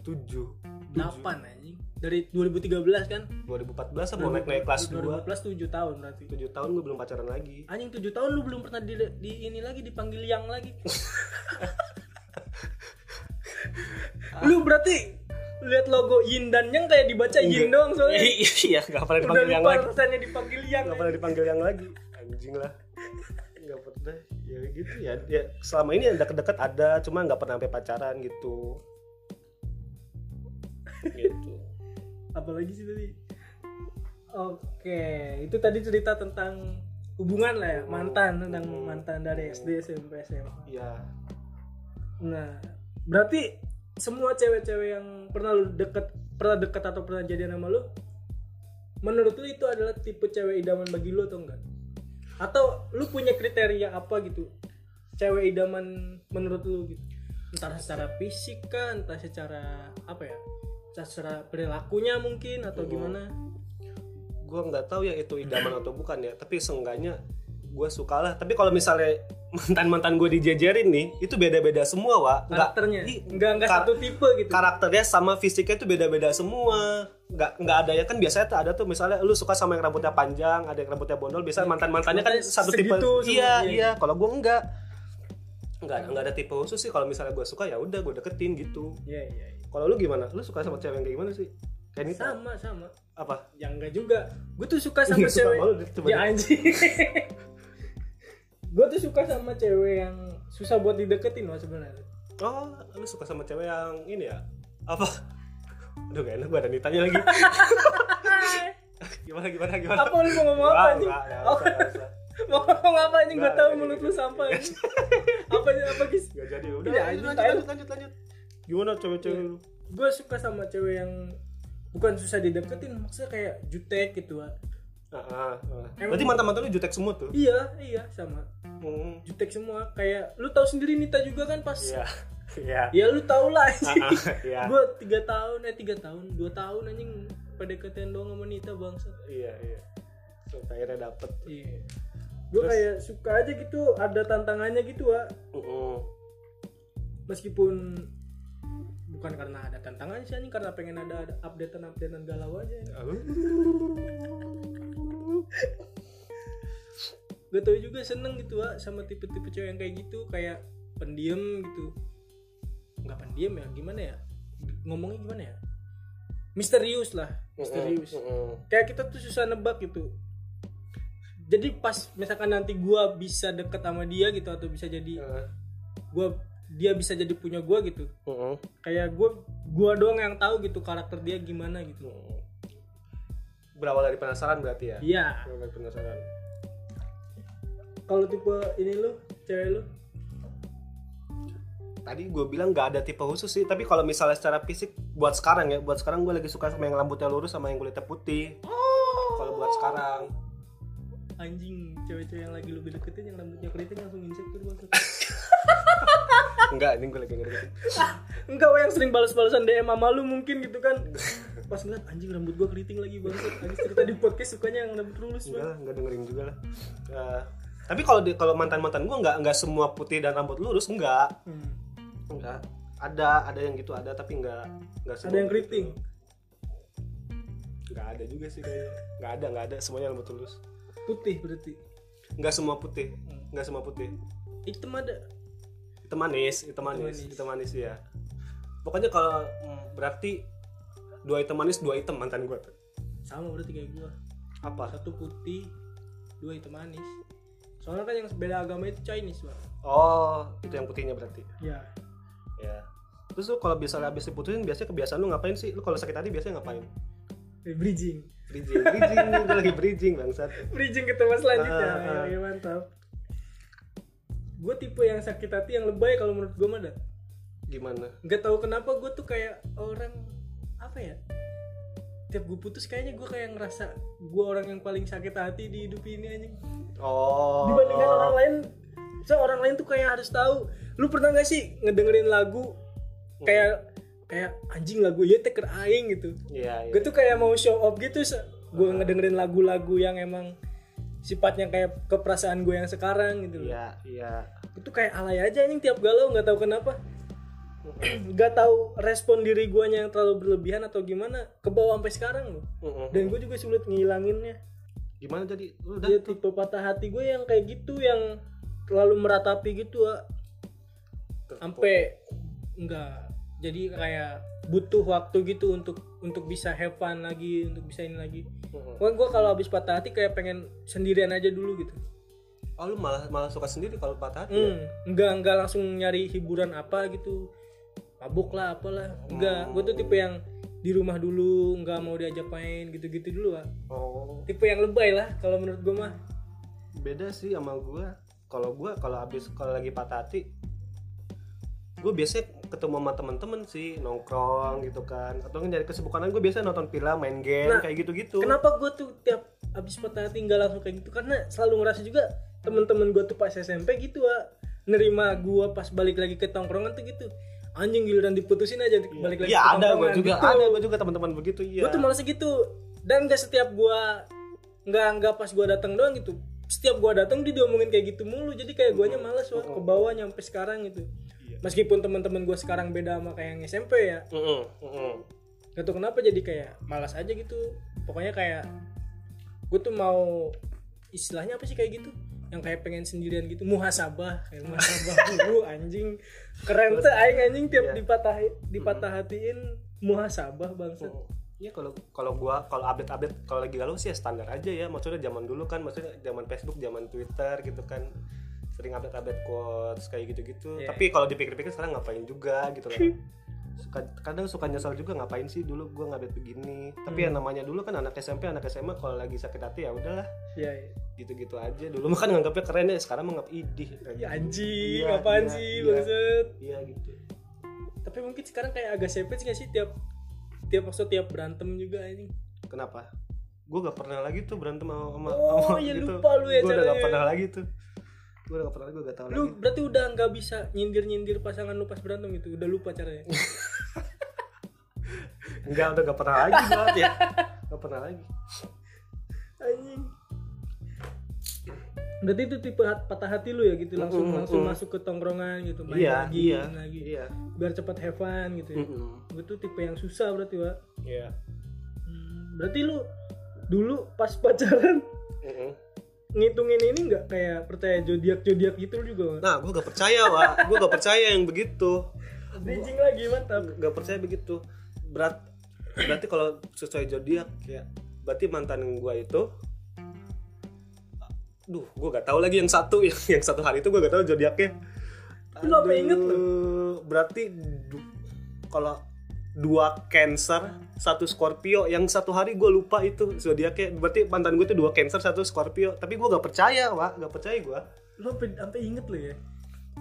Speaker 1: 7
Speaker 2: delapan anjing dari 2013 kan
Speaker 1: 2014 sama naik-naik kelas 2
Speaker 2: 2014 7 tahun berarti
Speaker 1: 7 tahun gue belum pacaran lagi
Speaker 2: anjing 7 tahun lu belum pernah di, di ini lagi dipanggil yang lagi lu berarti lihat logo Yin dan Yang kayak dibaca Yin doang soalnya
Speaker 1: Iya, gak pernah
Speaker 2: udah
Speaker 1: dipanggil yang
Speaker 2: lupa
Speaker 1: lagi
Speaker 2: rasanya dipanggil Yang
Speaker 1: Gak pernah dipanggil yang lagi Anjing lah Gak pernah Ya gitu ya, ya Selama ini yang deket-deket ada Cuma gak pernah sampai pacaran gitu Gitu
Speaker 2: apalagi sih tadi oke itu tadi cerita tentang hubungan lah ya mantan tentang
Speaker 1: Hmm.
Speaker 2: mantan dari SD SMP SMA
Speaker 1: Ya
Speaker 2: nah berarti semua cewek-cewek yang pernah lu deket pernah deket atau pernah jadian sama lu menurut lu itu adalah tipe cewek idaman bagi lu atau enggak atau lu punya kriteria apa gitu cewek idaman menurut lu gitu entah secara fisik kah entah secara apa ya entah secara perilakunya mungkin
Speaker 1: Oh.
Speaker 2: atau gimana
Speaker 1: Gue gak tahu ya itu idaman atau bukan ya Tapi seenggaknya Gue sukalah Tapi kalau misalnya Mantan-mantan gue dijejerin nih Itu beda-beda semua wa Nggak-
Speaker 2: karakternya
Speaker 1: i-
Speaker 2: enggak enggak
Speaker 1: kar-
Speaker 2: satu tipe gitu
Speaker 1: karakternya sama fisiknya itu beda-beda semua nggak nggak ada ya kan biasanya tuh ada tuh misalnya lu suka sama yang rambutnya panjang ada yang rambutnya bondol biasanya mantan mantannya kan
Speaker 2: Mantannya
Speaker 1: satu tipe
Speaker 2: Iya, segitu semua,
Speaker 1: iya
Speaker 2: iya.
Speaker 1: iya kalau gue enggak nggak ada- nggak ada tipe khusus sih kalau misalnya gue suka ya udah gue deketin gitu
Speaker 2: Iya, iya, iya.
Speaker 1: kalau lu gimana lu suka sama cewek yang kayak gimana sih kayak Nita?
Speaker 2: sama sama
Speaker 1: apa
Speaker 2: ya enggak juga gue tuh suka
Speaker 1: Iya,
Speaker 2: sama
Speaker 1: suka
Speaker 2: cewek
Speaker 1: sama lu, coba
Speaker 2: ya
Speaker 1: deh.
Speaker 2: anjing gue tuh suka sama cewek yang susah buat dideketin loh sebenarnya
Speaker 1: oh lu suka sama cewek yang ini ya apa aduh gak enak gue ada nitanya lagi Ah. gimana gimana gimana
Speaker 2: apa lu mau ngomong apa
Speaker 1: Nggak,
Speaker 2: anjing
Speaker 1: nggak, nggak
Speaker 2: Oh,
Speaker 1: usah, nggak usah.
Speaker 2: mau ngomong apa anjing gue
Speaker 1: Nggak,
Speaker 2: tahu
Speaker 1: nggak
Speaker 2: mulut
Speaker 1: jadi,
Speaker 2: lu
Speaker 1: nggak
Speaker 2: sampah anjing apa apa guys
Speaker 1: Gak jadi udah
Speaker 2: Iya,
Speaker 1: lanjut,
Speaker 2: lanjut,
Speaker 1: lanjut, lanjut lanjut lanjut. Iya. Gimana cewek-cewek lu?
Speaker 2: gue suka sama cewek yang bukan susah dideketin maksudnya kayak jutek gitu ah.
Speaker 1: Ah, ah, ah.
Speaker 2: Emang-
Speaker 1: Berarti mantan-mantan lu jutek semua tuh.
Speaker 2: iya iya sama
Speaker 1: Hmm.
Speaker 2: jutek semua kayak lu tahu sendiri Nita juga kan pas
Speaker 1: Iya. Iya.
Speaker 2: ya lu tau lah anjing
Speaker 1: Ah, ah, Iya.
Speaker 2: gue tiga tahun eh tiga tahun dua tahun anjing PDKT doang sama Nita bangsa
Speaker 1: Iya, iya. Terus Akhirnya dapet.
Speaker 2: iya gue
Speaker 1: Terus?
Speaker 2: kayak suka aja gitu ada tantangannya gitu wa
Speaker 1: Mm-mm.
Speaker 2: meskipun bukan karena ada tantangan sih anjing karena pengen ada, ada updatean updatean galau aja gue tau juga seneng gitu wa sama tipe-tipe cewek yang kayak gitu kayak pendiam gitu nggak pendiam ya gimana ya ngomongnya gimana ya misterius lah misterius
Speaker 1: Mm-mm.
Speaker 2: kayak kita tuh susah nebak gitu jadi pas misalkan nanti gua bisa deket sama dia gitu atau bisa jadi
Speaker 1: Ah,
Speaker 2: gua dia bisa jadi punya gua gitu
Speaker 1: mm-mm.
Speaker 2: kayak gua gua doang yang tahu gitu karakter dia gimana gitu
Speaker 1: Mm-mm. Berawal dari penasaran berarti ya?
Speaker 2: iya
Speaker 1: Berawal dari penasaran.
Speaker 2: kalau tipe ini lo cewek lo
Speaker 1: Tadi gue bilang gak ada tipe khusus sih, tapi kalau misalnya secara fisik buat sekarang ya, buat sekarang gue lagi suka sama yang rambutnya lurus sama yang kulitnya putih. Kalau buat sekarang
Speaker 2: anjing cewek-cewek yang lagi lu deketin yang rambutnya keriting langsung insecure banget Oh.
Speaker 1: enggak ini gue lagi ngerti
Speaker 2: enggak wah yang sering balas-balasan DM sama lu mungkin gitu kan pas ngeliat anjing rambut gua keriting lagi banget habis cerita di podcast sukanya yang rambut lurus
Speaker 1: enggak
Speaker 2: banget
Speaker 1: lah enggak dengerin juga lah Eh, tapi kalau di- kalau mantan mantan gue enggak enggak semua putih dan rambut lurus enggak
Speaker 2: Hmm.
Speaker 1: enggak ada ada yang gitu ada tapi enggak enggak semua
Speaker 2: ada yang keriting
Speaker 1: enggak ada juga sih kayaknya enggak ada enggak ada semuanya rambut lurus
Speaker 2: putih berarti
Speaker 1: enggak semua putih
Speaker 2: Hmm.
Speaker 1: enggak semua putih
Speaker 2: hitam ada
Speaker 1: hitam manis hitam manis
Speaker 2: manis. Hmm.
Speaker 1: hitam manis ya pokoknya kalau mm, berarti dua hitam manis dua hitam mantan gue tuh
Speaker 2: sama berarti kayak gua
Speaker 1: apa
Speaker 2: satu putih dua hitam manis soalnya kan yang beda agama itu Chinese bang
Speaker 1: oh itu yang putihnya berarti
Speaker 2: ya
Speaker 1: ya terus lu kalau biasanya habis diputusin biasanya kebiasaan lu ngapain sih lu kalau sakit hati biasanya ngapain
Speaker 2: bridging
Speaker 1: bridging bridging nih gue lagi bridging bangsat
Speaker 2: bridging ke tema selanjutnya
Speaker 1: Ah,
Speaker 2: Ayo,
Speaker 1: ah.
Speaker 2: ayo, mantap gue tipe yang sakit hati yang lebay kalau menurut gue mah dah
Speaker 1: gimana
Speaker 2: nggak tahu kenapa gue tuh kayak orang apa ya tiap gue putus kayaknya gue kayak ngerasa gue orang yang paling sakit hati di hidup ini anjing
Speaker 1: oh
Speaker 2: dibandingkan orang lain so orang lain tuh kayak harus tahu lu pernah gak sih ngedengerin lagu kayak kayak anjing lagu ya teker aing gitu
Speaker 1: iya iya
Speaker 2: gue tuh kayak mau show off gitu gue ngedengerin lagu-lagu yang emang sifatnya kayak keperasaan gue yang sekarang gitu loh
Speaker 1: iya iya
Speaker 2: itu kayak alay aja anjing tiap galau nggak tahu kenapa nggak tahu respon diri guanya yang terlalu berlebihan atau gimana ke bawah sampai sekarang loh
Speaker 1: Mm-mm.
Speaker 2: dan Iya, gue juga sulit ngilanginnya
Speaker 1: gimana jadi lu udah
Speaker 2: dia tipe patah hati gue yang kayak gitu yang terlalu meratapi gitu ah. sampai enggak jadi kayak butuh waktu gitu untuk untuk bisa have fun lagi untuk bisa ini lagi
Speaker 1: Mm-mm.
Speaker 2: Pokoknya gue kalau habis patah hati kayak pengen sendirian aja dulu gitu
Speaker 1: oh lu malah malah suka sendiri kalau patah hati ya?
Speaker 2: Hmm, enggak enggak langsung nyari hiburan apa gitu. Mabuk lah apalah. Enggak,
Speaker 1: Oh.
Speaker 2: gue tuh tipe yang di rumah dulu, enggak mau diajak main gitu-gitu dulu, Wak.
Speaker 1: oh
Speaker 2: Tipe yang lebay lah kalau menurut gue mah.
Speaker 1: beda sih sama gue kalau gue kalau habis kalau lagi patah hati gue biasanya ketemu sama temen-temen sih nongkrong gitu kan atau nggak nyari kesibukan gue biasanya nonton film main game
Speaker 2: Nah,
Speaker 1: kayak gitu-gitu
Speaker 2: Kenapa gue tuh tiap habis patah hati enggak langsung kayak gitu? Karena selalu ngerasa juga temen-temen gue tuh pas SMP gitu, Wak. Nerima gue pas balik lagi ke tongkrongan tuh gitu. Anjing giliran diputusin aja balik lagi
Speaker 1: Iya
Speaker 2: ke
Speaker 1: ada gue
Speaker 2: tongkrongan
Speaker 1: juga
Speaker 2: gitu.
Speaker 1: ada gue juga teman-teman begitu iya
Speaker 2: gue tuh malas gitu dan gak setiap gua nggak nggak pas gua datang doang gitu setiap gua datang dia diomongin kayak gitu mulu jadi kayak guanya malas wah ke bawah nyampe sekarang gitu
Speaker 1: Oh, Iya.
Speaker 2: meskipun teman-teman gua sekarang beda sama kayak yang SMP ya
Speaker 1: Mm-mm, mm-mm.
Speaker 2: gak tau kenapa jadi kayak malas aja gitu pokoknya kayak gue tuh mau istilahnya apa sih kayak gitu yang kayak pengen sendirian gitu muhasabah kayak muhasabah dulu anjing keren tuh aing anjing tiap
Speaker 1: Iya.
Speaker 2: dipatah dipatah hatiin muhasabah bangsa
Speaker 1: Iya kalau kalau gua kalau update-update kalau lagi galau sih ya standar aja ya. Maksudnya zaman dulu kan maksudnya zaman Facebook, zaman Twitter gitu kan sering update-update quotes kayak gitu-gitu.
Speaker 2: Iya.
Speaker 1: Tapi kalau dipikir-pikir sekarang ngapain juga gitu kan. Suka, kadang suka nyesal juga ngapain sih dulu gua ngupdate begini. Tapi
Speaker 2: Hmm.
Speaker 1: yang namanya dulu kan anak SMP, anak SMA kalau lagi sakit hati ya udahlah
Speaker 2: Iya, iya.
Speaker 1: gitu-gitu aja. Dulu mah kan nganggapnya keren ya, sekarang menganggap idih.
Speaker 2: Ya anjing,
Speaker 1: Iya,
Speaker 2: apaan
Speaker 1: iya,
Speaker 2: sih
Speaker 1: iya.
Speaker 2: maksud?
Speaker 1: Iya gitu.
Speaker 2: Tapi mungkin sekarang kayak agak savage gak sih tiap tiap maksud tiap berantem juga anjing.
Speaker 1: Kenapa? Gue gak pernah lagi tuh berantem sama sama
Speaker 2: Oh,
Speaker 1: sama gitu.
Speaker 2: iya, lupa lu ya
Speaker 1: Gua udah gak
Speaker 2: caranya.
Speaker 1: pernah lagi tuh Gue udah gak pernah lagi, gue gak tau lagi
Speaker 2: Lu berarti udah nggak bisa nyindir-nyindir pasangan lu pas berantem gitu, udah lupa caranya.
Speaker 1: Enggak, udah gak pernah lagi gua ya Gak pernah lagi
Speaker 2: anjing. Berarti itu tipe hat- patah hati lu ya gitu langsung
Speaker 1: Mm-mm,
Speaker 2: langsung
Speaker 1: mm.
Speaker 2: masuk ke tongkrongan gitu, main
Speaker 1: Iya,
Speaker 2: lagi,
Speaker 1: iya, Mm.
Speaker 2: main lagi.
Speaker 1: iya
Speaker 2: Biar cepat have fun gitu. Ya.
Speaker 1: Mm-mm.
Speaker 2: Gua tuh tipe yang susah berarti, Wak.
Speaker 1: Iya
Speaker 2: Hmm, berarti lu dulu pas pacaran
Speaker 1: Mm-mm.
Speaker 2: ngitungin ini nggak kayak percaya zodiak-zodiak gitu lu juga, Wak?
Speaker 1: Nah, gue gak percaya, Wak Gue gak percaya yang begitu
Speaker 2: Bridging lagi mantap.
Speaker 1: Gak percaya begitu Berat Berarti kalau sesuai zodiak ya Berarti mantan gue itu Duh, gue gak tahu lagi yang satu yang, yang satu hari itu gue gak tahu zodiaknya.
Speaker 2: Lu sampai inget lu?
Speaker 1: Aduh, Berarti du- kalau dua Cancer, satu Scorpio, yang satu hari gue lupa itu zodiaknya. Berarti mantan gue tuh dua Cancer, satu Scorpio. Tapi gue gak percaya, Wak, gak percaya gue.
Speaker 2: Lu sampai sampai inget lu ya.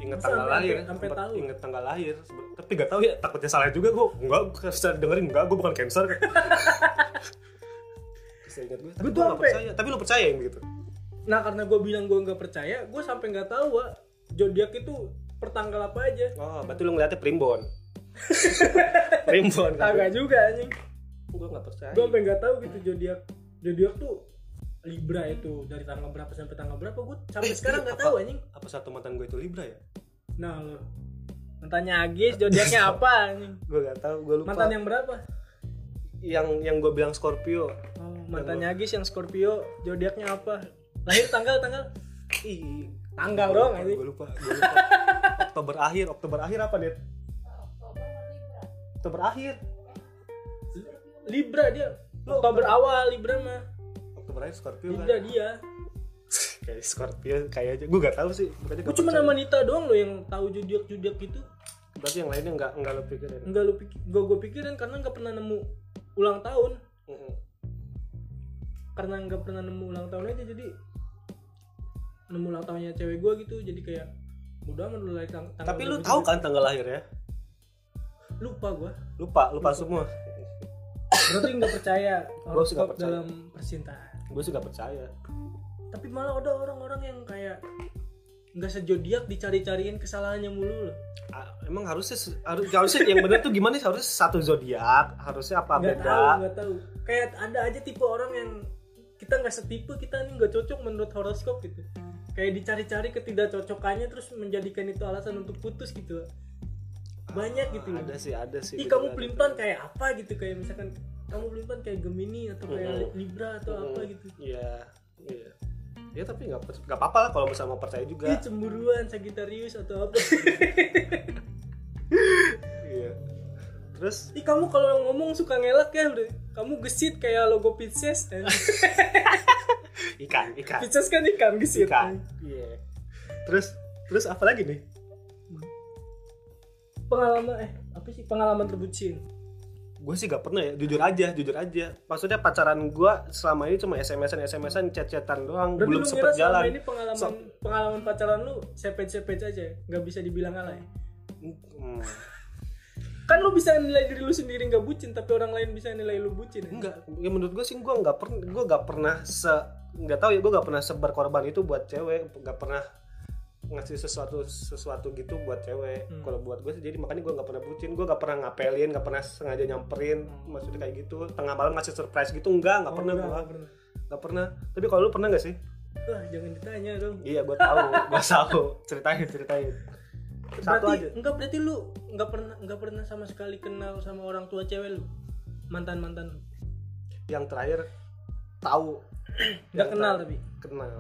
Speaker 1: Ingat
Speaker 2: Masa
Speaker 1: tanggal
Speaker 2: sampai-
Speaker 1: lahir,
Speaker 2: sampai- sampai
Speaker 1: Sempet
Speaker 2: tahu?
Speaker 1: inget tanggal lahir. Sebe- Tapi gak tahu ya, takutnya salah juga gue. Enggak, gue bisa dengerin enggak, gue bukan Cancer. seingat gue tapi gue
Speaker 2: Gua tuh ya?
Speaker 1: nggak
Speaker 2: sampai-
Speaker 1: percaya tapi lu gitu. percaya yang begitu
Speaker 2: Nah karena gue bilang gue nggak percaya, gue sampai nggak tahu Wak, zodiak itu pertanggal apa aja.
Speaker 1: oh berarti lu ngeliatnya primbon primbon
Speaker 2: Agak juga anjing.
Speaker 1: gue nggak percaya
Speaker 2: Gue sampai nggak tahu gitu zodiak. Zodiak tuh Libra itu dari tanggal berapa sampai tanggal berapa gue sampai
Speaker 1: Eh,
Speaker 2: sekarang
Speaker 1: iya,
Speaker 2: nggak
Speaker 1: apa?
Speaker 2: tahu anjing.
Speaker 1: apa satu mantan gue itu libra ya
Speaker 2: Nah lo mantannya Agis zodiaknya apa anjing?
Speaker 1: gue nggak tahu gue lupa
Speaker 2: Mantan yang berapa?
Speaker 1: yang yang gue bilang Scorpio
Speaker 2: Oh, mantannya Agis yang Scorpio zodiaknya apa? Lahir tanggal tanggal
Speaker 1: ih
Speaker 2: tanggal dong anjing.
Speaker 1: gue lupa gue lupa Oktober akhir Oktober akhir apa Dit? Oktober akhir
Speaker 2: Libra dia. Oktober awal Libra mah.
Speaker 1: Oktober akhir Scorpio kan
Speaker 2: Libra dia.
Speaker 1: kayak Scorpio kayaknya gue gak tahu sih makanya
Speaker 2: Gue
Speaker 1: nggak
Speaker 2: cuma
Speaker 1: percaya.
Speaker 2: nama Nita doang lo yang tahu zodiak zodiak gitu.
Speaker 1: berarti yang lainnya nggak nggak ya? lo pikirin
Speaker 2: Enggak lo pikir, gue gue pikirin karena nggak pernah nemu ulang tahun.
Speaker 1: Mm-mm.
Speaker 2: Karena nggak pernah nemu ulang tahun aja jadi nemu ulang tahunnya cewek gue gitu jadi kayak udah amat lu lahir tang- tanggal
Speaker 1: tapi lu
Speaker 2: berapa
Speaker 1: tahu
Speaker 2: sih?
Speaker 1: kan tanggal lahirnya
Speaker 2: lupa gue
Speaker 1: lupa lupa semua
Speaker 2: berarti nggak percaya
Speaker 1: Gua sih nggak
Speaker 2: horoskop
Speaker 1: percaya.
Speaker 2: dalam percintaan
Speaker 1: gue sih gak percaya
Speaker 2: tapi malah ada orang-orang yang kayak nggak sejodiak dicari-cariin kesalahannya mulu loh
Speaker 1: Ah, emang harusnya se- harus harusnya yang benar tuh gimana sih harusnya satu zodiak harusnya apa
Speaker 2: nggak
Speaker 1: beda
Speaker 2: tahu nggak tahu kayak ada aja tipe orang yang kita nggak setipe kita nih nggak cocok menurut horoskop gitu kayak dicari-cari ketidakcocokannya terus menjadikan itu alasan untuk putus gitu banyak gitu
Speaker 1: Ah,
Speaker 2: loh.
Speaker 1: ada sih ada sih gitu,
Speaker 2: ih
Speaker 1: ada.
Speaker 2: kamu pelimpan kayak apa gitu kayak misalkan kamu pelimpan kayak gemini atau kayak
Speaker 1: Mm-mm.
Speaker 2: libra atau
Speaker 1: Mm-mm.
Speaker 2: apa gitu
Speaker 1: iya iya ya tapi nggak per- nggak apa-apa lah kalau misalnya mau percaya juga
Speaker 2: ih cemburuan sagitarius atau apa
Speaker 1: iya terus
Speaker 2: ih kamu kalau ngomong suka ngelak ya udah kamu gesit kayak logo Pisces Eh,
Speaker 1: ikan ikan
Speaker 2: Pisces kan ikan gesit
Speaker 1: ikan iya terus terus apa lagi nih
Speaker 2: pengalaman eh apa sih pengalaman terbucin
Speaker 1: gue sih gak pernah ya jujur aja jujur aja maksudnya pacaran gue selama ini cuma smsan smsan chat-chatan doang
Speaker 2: Berarti
Speaker 1: belum
Speaker 2: lu ngira
Speaker 1: sempet
Speaker 2: selama
Speaker 1: jalan
Speaker 2: ini pengalaman
Speaker 1: So-
Speaker 2: pengalaman pacaran lu sepet-sepet aja, nggak bisa dibilang alay.
Speaker 1: Hmm,
Speaker 2: Kan lu bisa nilai diri lu sendiri nggak bucin, tapi orang lain bisa nilai lu bucin. ya?
Speaker 1: enggak ya menurut gue sih gue nggak pernah gue nggak pernah se nggak tahu ya gue nggak pernah seberkorban itu buat cewek nggak pernah ngasih sesuatu sesuatu gitu buat cewek
Speaker 2: Hmm.
Speaker 1: kalau buat gue sih jadi makanya gue nggak pernah bucin gue nggak pernah ngapelin nggak pernah sengaja nyamperin
Speaker 2: Hmm.
Speaker 1: maksudnya kayak gitu tengah malam ngasih surprise gitu enggak nggak
Speaker 2: Oh,
Speaker 1: pernah gue
Speaker 2: nggak pernah.
Speaker 1: nggak pernah tapi kalau lu pernah nggak sih
Speaker 2: Wah, jangan ditanya dong.
Speaker 1: iya gue tahu gue tahu ceritain ceritain satu
Speaker 2: berarti
Speaker 1: aja
Speaker 2: enggak berarti lu nggak pernah nggak pernah sama sekali kenal sama orang tua cewek lu. Mantan-mantan. lu.
Speaker 1: yang terakhir tahu
Speaker 2: Nggak
Speaker 1: Yang
Speaker 2: kenal
Speaker 1: terakhir.
Speaker 2: tapi.
Speaker 1: kenal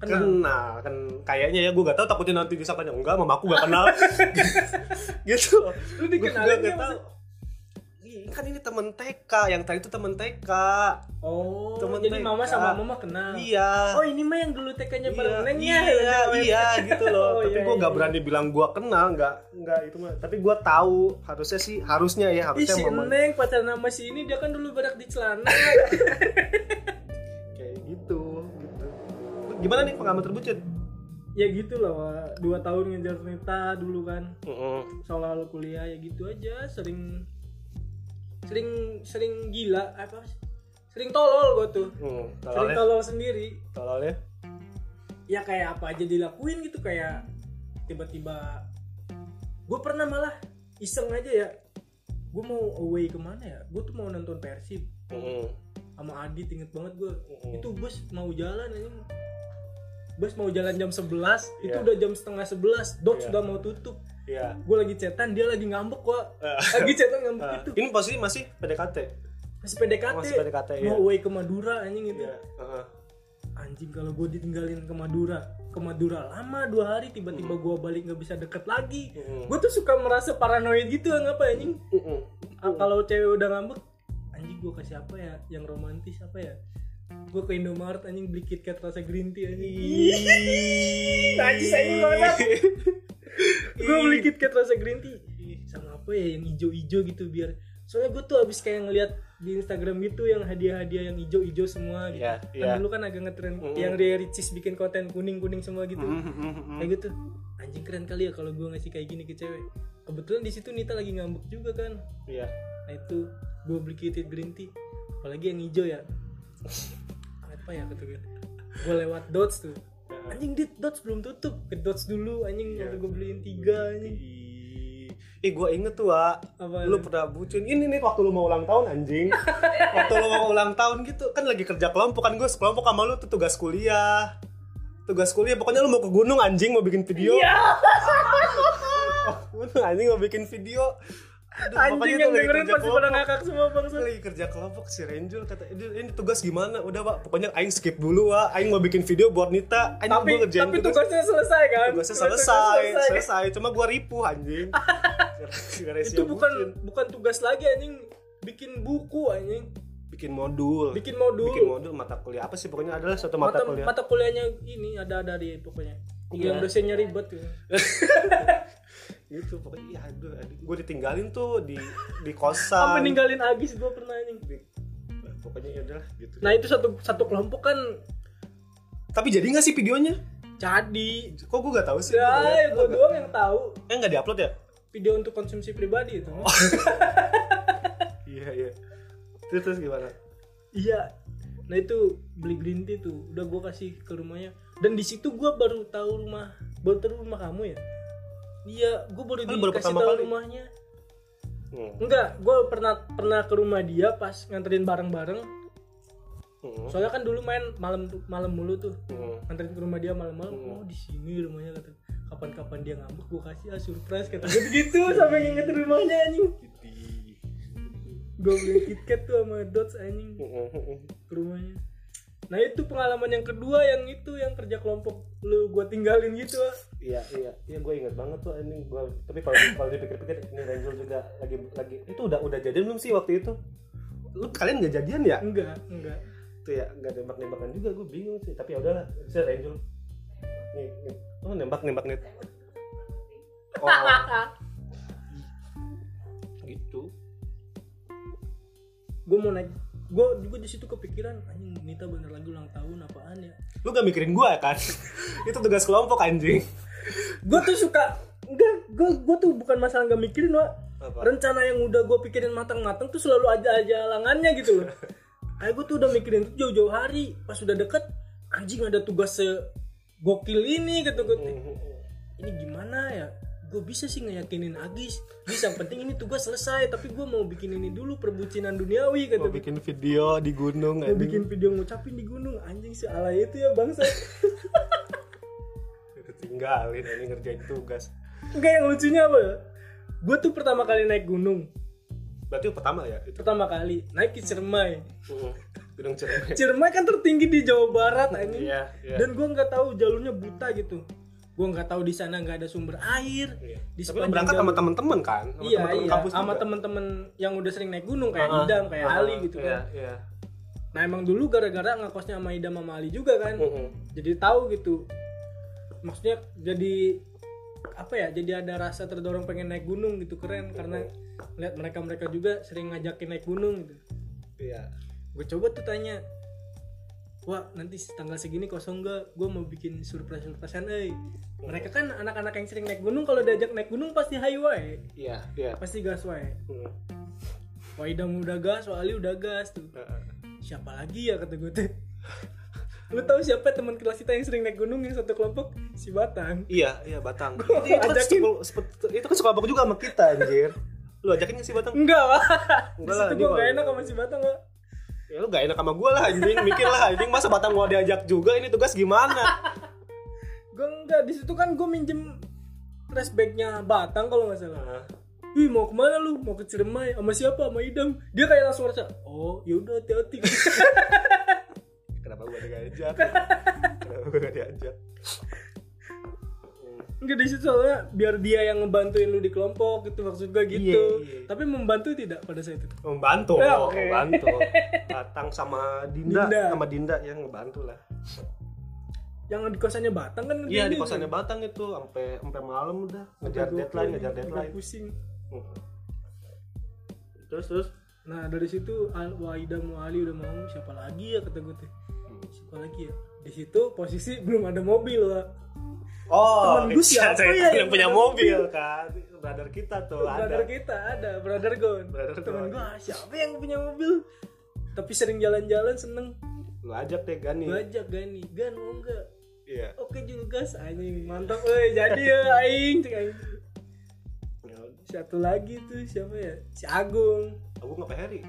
Speaker 2: Kenal.
Speaker 1: kenal, kan kayaknya ya gue gak tahu takutnya nanti disangkanya enggak mama aku gak kenal gitu loh. Gua
Speaker 2: Lu dikenalin
Speaker 1: nggak
Speaker 2: dia
Speaker 1: tahu.
Speaker 2: masa-
Speaker 1: Ih, kan ini temen TK yang tadi itu temen TK
Speaker 2: Oh,
Speaker 1: Temen
Speaker 2: jadi
Speaker 1: TK.
Speaker 2: mama sama mama
Speaker 1: Ah.
Speaker 2: kenal.
Speaker 1: iya
Speaker 2: Oh, ini mah yang dulu TK-nya bareng Neng
Speaker 1: iya,
Speaker 2: ya.
Speaker 1: iya, iya, gitu loh.
Speaker 2: Oh,
Speaker 1: tapi
Speaker 2: iya,
Speaker 1: gue nggak
Speaker 2: iya.
Speaker 1: berani bilang gue kenal, nggak nggak itu mah. Tapi gue tahu harusnya sih harusnya ya
Speaker 2: Ih,
Speaker 1: harusnya
Speaker 2: si
Speaker 1: mama
Speaker 2: Neng pacaran sama si ini dia kan dulu berak di celana.
Speaker 1: kayak gitu gitu. Lu Gimana nih pengalaman terbucin?
Speaker 2: ya gitu lah Wak. dua tahun ngejar Nita dulu kan soal lalu kuliah ya gitu aja sering sering sering gila apa sih? sering tolol gua tuh
Speaker 1: Hmm,
Speaker 2: sering
Speaker 1: tololnya,
Speaker 2: tolol sendiri
Speaker 1: tololnya.
Speaker 2: ya kayak apa aja dilakuin gitu kayak tiba-tiba gue pernah malah iseng aja ya gue mau away kemana ya gue tuh mau nonton Persib
Speaker 1: Mm-mm.
Speaker 2: sama Adit inget banget gue
Speaker 1: Mm-mm.
Speaker 2: itu bus mau jalan aja bus mau jalan jam 11 itu
Speaker 1: Iya.
Speaker 2: udah jam setengah 11
Speaker 1: Iya.
Speaker 2: dok sudah mau tutup
Speaker 1: Iya.
Speaker 2: gue lagi cetan dia lagi ngambek gua
Speaker 1: Eh,
Speaker 2: lagi cetan ngambek
Speaker 1: eh,
Speaker 2: itu
Speaker 1: ini posisi masih PDKT.
Speaker 2: masih PDKT,
Speaker 1: Masih PDKT ya.
Speaker 2: mau away ke Madura anjing itu
Speaker 1: Iya. Heeh.
Speaker 2: anjing kalau gue ditinggalin ke Madura ke Madura lama dua hari tiba-tiba
Speaker 1: Hmm.
Speaker 2: gua balik nggak bisa deket lagi
Speaker 1: Mm-mm.
Speaker 2: gue tuh suka merasa paranoid gitu ngapa anjing
Speaker 1: Mm-mm. Hmm.
Speaker 2: Ah, kalau cewek udah ngambek anjing gue kasih apa ya yang romantis apa ya gue ke Indomaret anjing beli KitKat rasa green tea anjing Najis aja
Speaker 1: Iya.
Speaker 2: banget. gue beli KitKat rasa green tea sama apa ya yang ijo-ijo gitu biar soalnya gue tuh abis kayak ngeliat di Instagram gitu yang hadiah-hadiah yang ijo-ijo semua gitu
Speaker 1: Iya,
Speaker 2: Kan
Speaker 1: iya.
Speaker 2: dulu kan agak ngetren
Speaker 1: Mm-mm.
Speaker 2: yang Ria Ricis bikin konten kuning-kuning semua gitu
Speaker 1: Mm-mm.
Speaker 2: kayak gitu anjing keren kali ya kalau gue ngasih kayak gini ke cewek kebetulan di situ Nita lagi ngambek juga kan
Speaker 1: Iya.
Speaker 2: Nah itu gue beli kitty green tea apalagi yang hijau ya apa ya kata gue gue lewat dots tuh anjing dit dots belum tutup ke dots dulu anjing
Speaker 1: Iya.
Speaker 2: waktu gue beliin tiga anjing
Speaker 1: Ih, Eh gue inget tuh Wak
Speaker 2: Apa?
Speaker 1: Lu pernah bucin Ini nih waktu lu mau ulang tahun anjing Waktu lu mau ulang tahun gitu Kan lagi kerja kelompok kan Gue sekelompok sama lu tuh tugas kuliah Tugas kuliah Pokoknya lu mau ke gunung anjing Mau bikin video
Speaker 2: Iya.
Speaker 1: Gunung anjing mau bikin video Aduh, pokoknya
Speaker 2: anjing
Speaker 1: tuh lagi
Speaker 2: yang dengerin
Speaker 1: kerja
Speaker 2: pasti pada
Speaker 1: kelompok.
Speaker 2: ngakak semua bangsa
Speaker 1: Lagi kerja kelompok si Renjul kata ini, ini tugas gimana udah pak pokoknya Aing skip dulu Wak Aing mau bikin video buat Nita Aing
Speaker 2: tapi
Speaker 1: gua ngerjain
Speaker 2: tapi tugasnya selesai kan
Speaker 1: tugasnya selesai, selesai. Cuma gua ripuh anjing. Gara-gara si
Speaker 2: itu bukan
Speaker 1: Bucin.
Speaker 2: bukan tugas lagi anjing bikin buku anjing
Speaker 1: bikin modul.
Speaker 2: bikin modul
Speaker 1: Bikin modul mata kuliah apa sih pokoknya adalah suatu
Speaker 2: mata,
Speaker 1: mata, kuliah.
Speaker 2: mata kuliahnya ini ada ada di pokoknya
Speaker 1: Iya.
Speaker 2: yang dosennya ribet gitu. tuh
Speaker 1: Ah, Itu pokoknya iya aduh, aduh. gua ditinggalin tuh di di kosan.
Speaker 2: sampai ninggalin agis gue pernah anjing
Speaker 1: Di- pokoknya ya udahlah gitu.
Speaker 2: nah itu satu satu kelompok kan
Speaker 1: Tapi jadi nggak sih videonya?
Speaker 2: jadi
Speaker 1: Kok gua gak tahu sih? Gua nggak
Speaker 2: ya
Speaker 1: lihat.
Speaker 2: gue doang yang tahu
Speaker 1: Eh nggak diupload ya?
Speaker 2: video untuk konsumsi pribadi itu
Speaker 1: Iya iya. Terus, terus gimana?
Speaker 2: Iya. Nah itu beli green tea tuh. Udah gua kasih ke rumahnya. Dan di situ gua baru tahu rumah, baru tahu rumah kamu ya. Iya, gua baru
Speaker 1: Kan
Speaker 2: dikasih
Speaker 1: baru pertama
Speaker 2: tahu
Speaker 1: kali.
Speaker 2: rumahnya.
Speaker 1: Hmm.
Speaker 2: Enggak, gua pernah pernah ke rumah dia pas nganterin bareng-bareng.
Speaker 1: Hmm.
Speaker 2: Soalnya kan dulu main malam malam mulu tuh.
Speaker 1: Hmm.
Speaker 2: Nganterin ke rumah dia malam-malam.
Speaker 1: Hmm.
Speaker 2: Oh, di sini rumahnya kata. Kapan-kapan dia ngambek gua kasih ah surprise kata gitu sampai nginget rumahnya anjing.
Speaker 1: Gitu.
Speaker 2: Gua beli KitKat tuh sama Dots anjing.
Speaker 1: Hmm.
Speaker 2: ke rumahnya nah itu pengalaman yang kedua yang itu yang kerja kelompok lu gua tinggalin gitu ah.
Speaker 1: Iya iya iya gue ingat banget tuh ini gue tapi kalau kalau dipikir-pikir ini Renjul juga lagi lagi itu udah udah jadian belum sih waktu itu lu kalian nggak jadian ya
Speaker 2: enggak enggak
Speaker 1: tuh ya nggak nembak nembakan juga gue bingung sih tapi ya udahlah saya Renjul nih, nih. oh nembak nembak nih oh gitu
Speaker 2: gua mau nanya gua juga di situ kepikiran anjing Nita bener lagi ulang tahun apaan ya
Speaker 1: lu gak mikirin gue kan itu tugas kelompok anjing
Speaker 2: gua tuh suka enggak gua gua tuh bukan masalah nggak mikirin wa
Speaker 1: apa
Speaker 2: rencana yang udah gua pikirin matang-matang tuh selalu aja aja halangannya gitu loh kayak gua tuh udah mikirin tuh jauh-jauh hari pas udah deket anjing ada tugas gokil ini gitu gitu
Speaker 1: Mhm.
Speaker 2: ini gimana ya gue bisa sih ngeyakinin Agis bisa yang penting ini tugas selesai tapi gue mau bikin ini dulu perbucinan duniawi kata
Speaker 1: mau bikin video di gunung
Speaker 2: gue
Speaker 1: anjing.
Speaker 2: bikin video ngucapin di gunung anjing si alay itu ya bangsa
Speaker 1: tinggalin ini ngerjain tugas
Speaker 2: enggak yang lucunya apa ya gue tuh pertama kali naik gunung
Speaker 1: berarti pertama ya itu
Speaker 2: pertama kali naik ke Ciremai
Speaker 1: Mm-mm. gunung ciremai
Speaker 2: Ciremai kan tertinggi di Jawa Barat anjing
Speaker 1: Iya, iya.
Speaker 2: dan gue nggak tahu jalurnya buta gitu gue nggak tahu di sana nggak ada sumber air
Speaker 1: Iya. Tapi
Speaker 2: di
Speaker 1: lu
Speaker 2: sepanjang
Speaker 1: berangkat
Speaker 2: jalur-
Speaker 1: sama temen-temen kan? Sama
Speaker 2: iya
Speaker 1: temen-temen
Speaker 2: iya
Speaker 1: kampus
Speaker 2: sama
Speaker 1: juga.
Speaker 2: temen-temen yang udah sering naik gunung kayak
Speaker 1: Ah,
Speaker 2: Idam kayak
Speaker 1: ah,
Speaker 2: Ali gitu kan
Speaker 1: iya, Iya,
Speaker 2: Nah emang dulu gara-gara ngekosnya sama Ida sama Ali juga kan.
Speaker 1: Mm-mm.
Speaker 2: Jadi tahu gitu. Maksudnya jadi apa ya? Jadi ada rasa terdorong pengen naik gunung gitu keren karena lihat mereka-mereka juga sering ngajakin naik gunung gitu.
Speaker 1: Iya.
Speaker 2: Gue coba tuh tanya Wah nanti tanggal segini kosong gak? Gue mau bikin surprise-surprisean eh. Mereka kan anak-anak yang sering naik gunung Kalau diajak naik gunung pasti high wae
Speaker 1: Iya, iya.
Speaker 2: Pasti gas wae
Speaker 1: Mm.
Speaker 2: Wah Idam udah gas, Wah Ali udah gas tuh
Speaker 1: Heeh.
Speaker 2: siapa lagi ya kata gue tuh lu tahu siapa teman kelas kita yang sering naik gunung yang satu kelompok si batang
Speaker 1: Iya, iya Batang. itu, itu, kan
Speaker 2: ajakin.
Speaker 1: sekol- sepet- itu kan sekelompok juga sama kita anjir. Lu ajakin gak sih Batang?
Speaker 2: enggak lah di
Speaker 1: Enggak lah,
Speaker 2: situ
Speaker 1: ini
Speaker 2: gue gak
Speaker 1: kalau-
Speaker 2: enak sama si batang Wak.
Speaker 1: Ya lu gak enak sama gue lah anjing, mikir lah anjing masa Batang gua diajak juga ini tugas gimana?
Speaker 2: gue enggak di situ kan gue minjem flashbacknya batang kalau nggak salah
Speaker 1: Heeh.
Speaker 2: Wih mau kemana lu? Mau ke Ciremai? Sama siapa? Sama Idam? Dia kayak langsung ngerasa Oh yaudah hati-hati
Speaker 1: Kenapa gua diajak? Kenapa gua gak diajak?
Speaker 2: Enggak di situ soalnya Biar dia yang ngebantuin lu di kelompok gitu Maksud gue gitu
Speaker 1: Iya, iya.
Speaker 2: Tapi membantu tidak pada saat itu?
Speaker 1: Membantu,
Speaker 2: Ya, oke.
Speaker 1: membantu. Batang sama Dinda,
Speaker 2: Dinda.
Speaker 1: sama Dinda ya ngebantu lah.
Speaker 2: Yang di kosannya batang kan
Speaker 1: Iya di
Speaker 2: ngerjain
Speaker 1: kosannya Batang itu sampai sampai malam udah ngejar
Speaker 2: Gua-
Speaker 1: deadline,
Speaker 2: gua-
Speaker 1: ngejar
Speaker 2: gua
Speaker 1: deadline.
Speaker 2: pusing
Speaker 1: Hmm. Terus terus
Speaker 2: nah dari situ Al Waida mau Ali udah mau siapa lagi ya kata gue teh
Speaker 1: Hmm.
Speaker 2: siapa lagi ya di situ posisi belum ada mobil lah
Speaker 1: Oh,
Speaker 2: Temen gue
Speaker 1: iya, saya
Speaker 2: siapa ya
Speaker 1: tahu
Speaker 2: yang
Speaker 1: yang punya
Speaker 2: ada
Speaker 1: mobil kan. Brother kita tuh
Speaker 2: brother
Speaker 1: ada.
Speaker 2: kita ada brother Gon
Speaker 1: Brother
Speaker 2: temen
Speaker 1: Gon.
Speaker 2: gue ah, siapa yang punya mobil tapi sering jalan-jalan seneng
Speaker 1: lu ajak deh Gani
Speaker 2: Gua ajak Gani Gan mau nggak
Speaker 1: iya
Speaker 2: oke julgas anjing mantap euy jadi ya aing Cek aing. satu lagi tuh siapa ya si Agung
Speaker 1: aku nggak Heri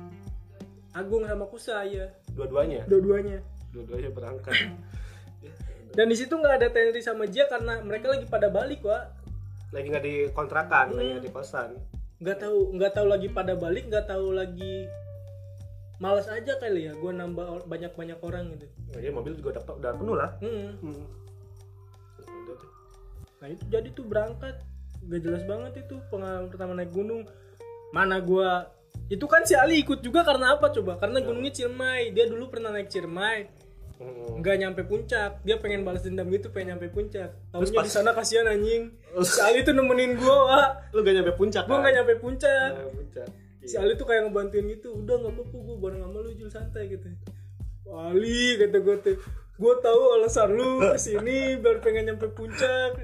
Speaker 2: Agung sama Kusa ya
Speaker 1: dua-duanya
Speaker 2: dua-duanya
Speaker 1: dua-duanya berangkat Ya,
Speaker 2: dan di situ nggak ada Tenri sama Jia karena mereka lagi pada balik wa
Speaker 1: lagi nggak di kontrakan lagi
Speaker 2: Hmm.
Speaker 1: nggak di kosan
Speaker 2: nggak tahu nggak tahu lagi pada balik nggak tahu lagi malas aja kali ya gua nambah banyak banyak orang gitu
Speaker 1: nah, jadi mobil juga udah, udah penuh lah
Speaker 2: Hmm.
Speaker 1: hmm.
Speaker 2: Nah itu jadi tuh berangkat Gak jelas banget itu pengalaman pertama naik gunung Mana gua Itu kan si Ali ikut juga karena apa coba
Speaker 1: Iya.
Speaker 2: Karena gunungnya Ciremai Dia dulu pernah naik Ciremai
Speaker 1: Hmm.
Speaker 2: nggak nyampe puncak Dia pengen balas dendam gitu pengen nyampe puncak
Speaker 1: Terus
Speaker 2: Tahunya
Speaker 1: pas-
Speaker 2: di sana kasihan anjing
Speaker 1: Terus- Nah.
Speaker 2: Si Ali tuh nemenin gua Wak
Speaker 1: lu gak nyampe puncak
Speaker 2: Gua gak nyampe puncak
Speaker 1: nyampe puncak Iya.
Speaker 2: Si Ali tuh kayak ngebantuin gitu Udah gak apa-apa gua bareng sama lu Jul santai gitu Ali kata gue tuh gue tahu alasan lu kesini biar pengen nyampe puncak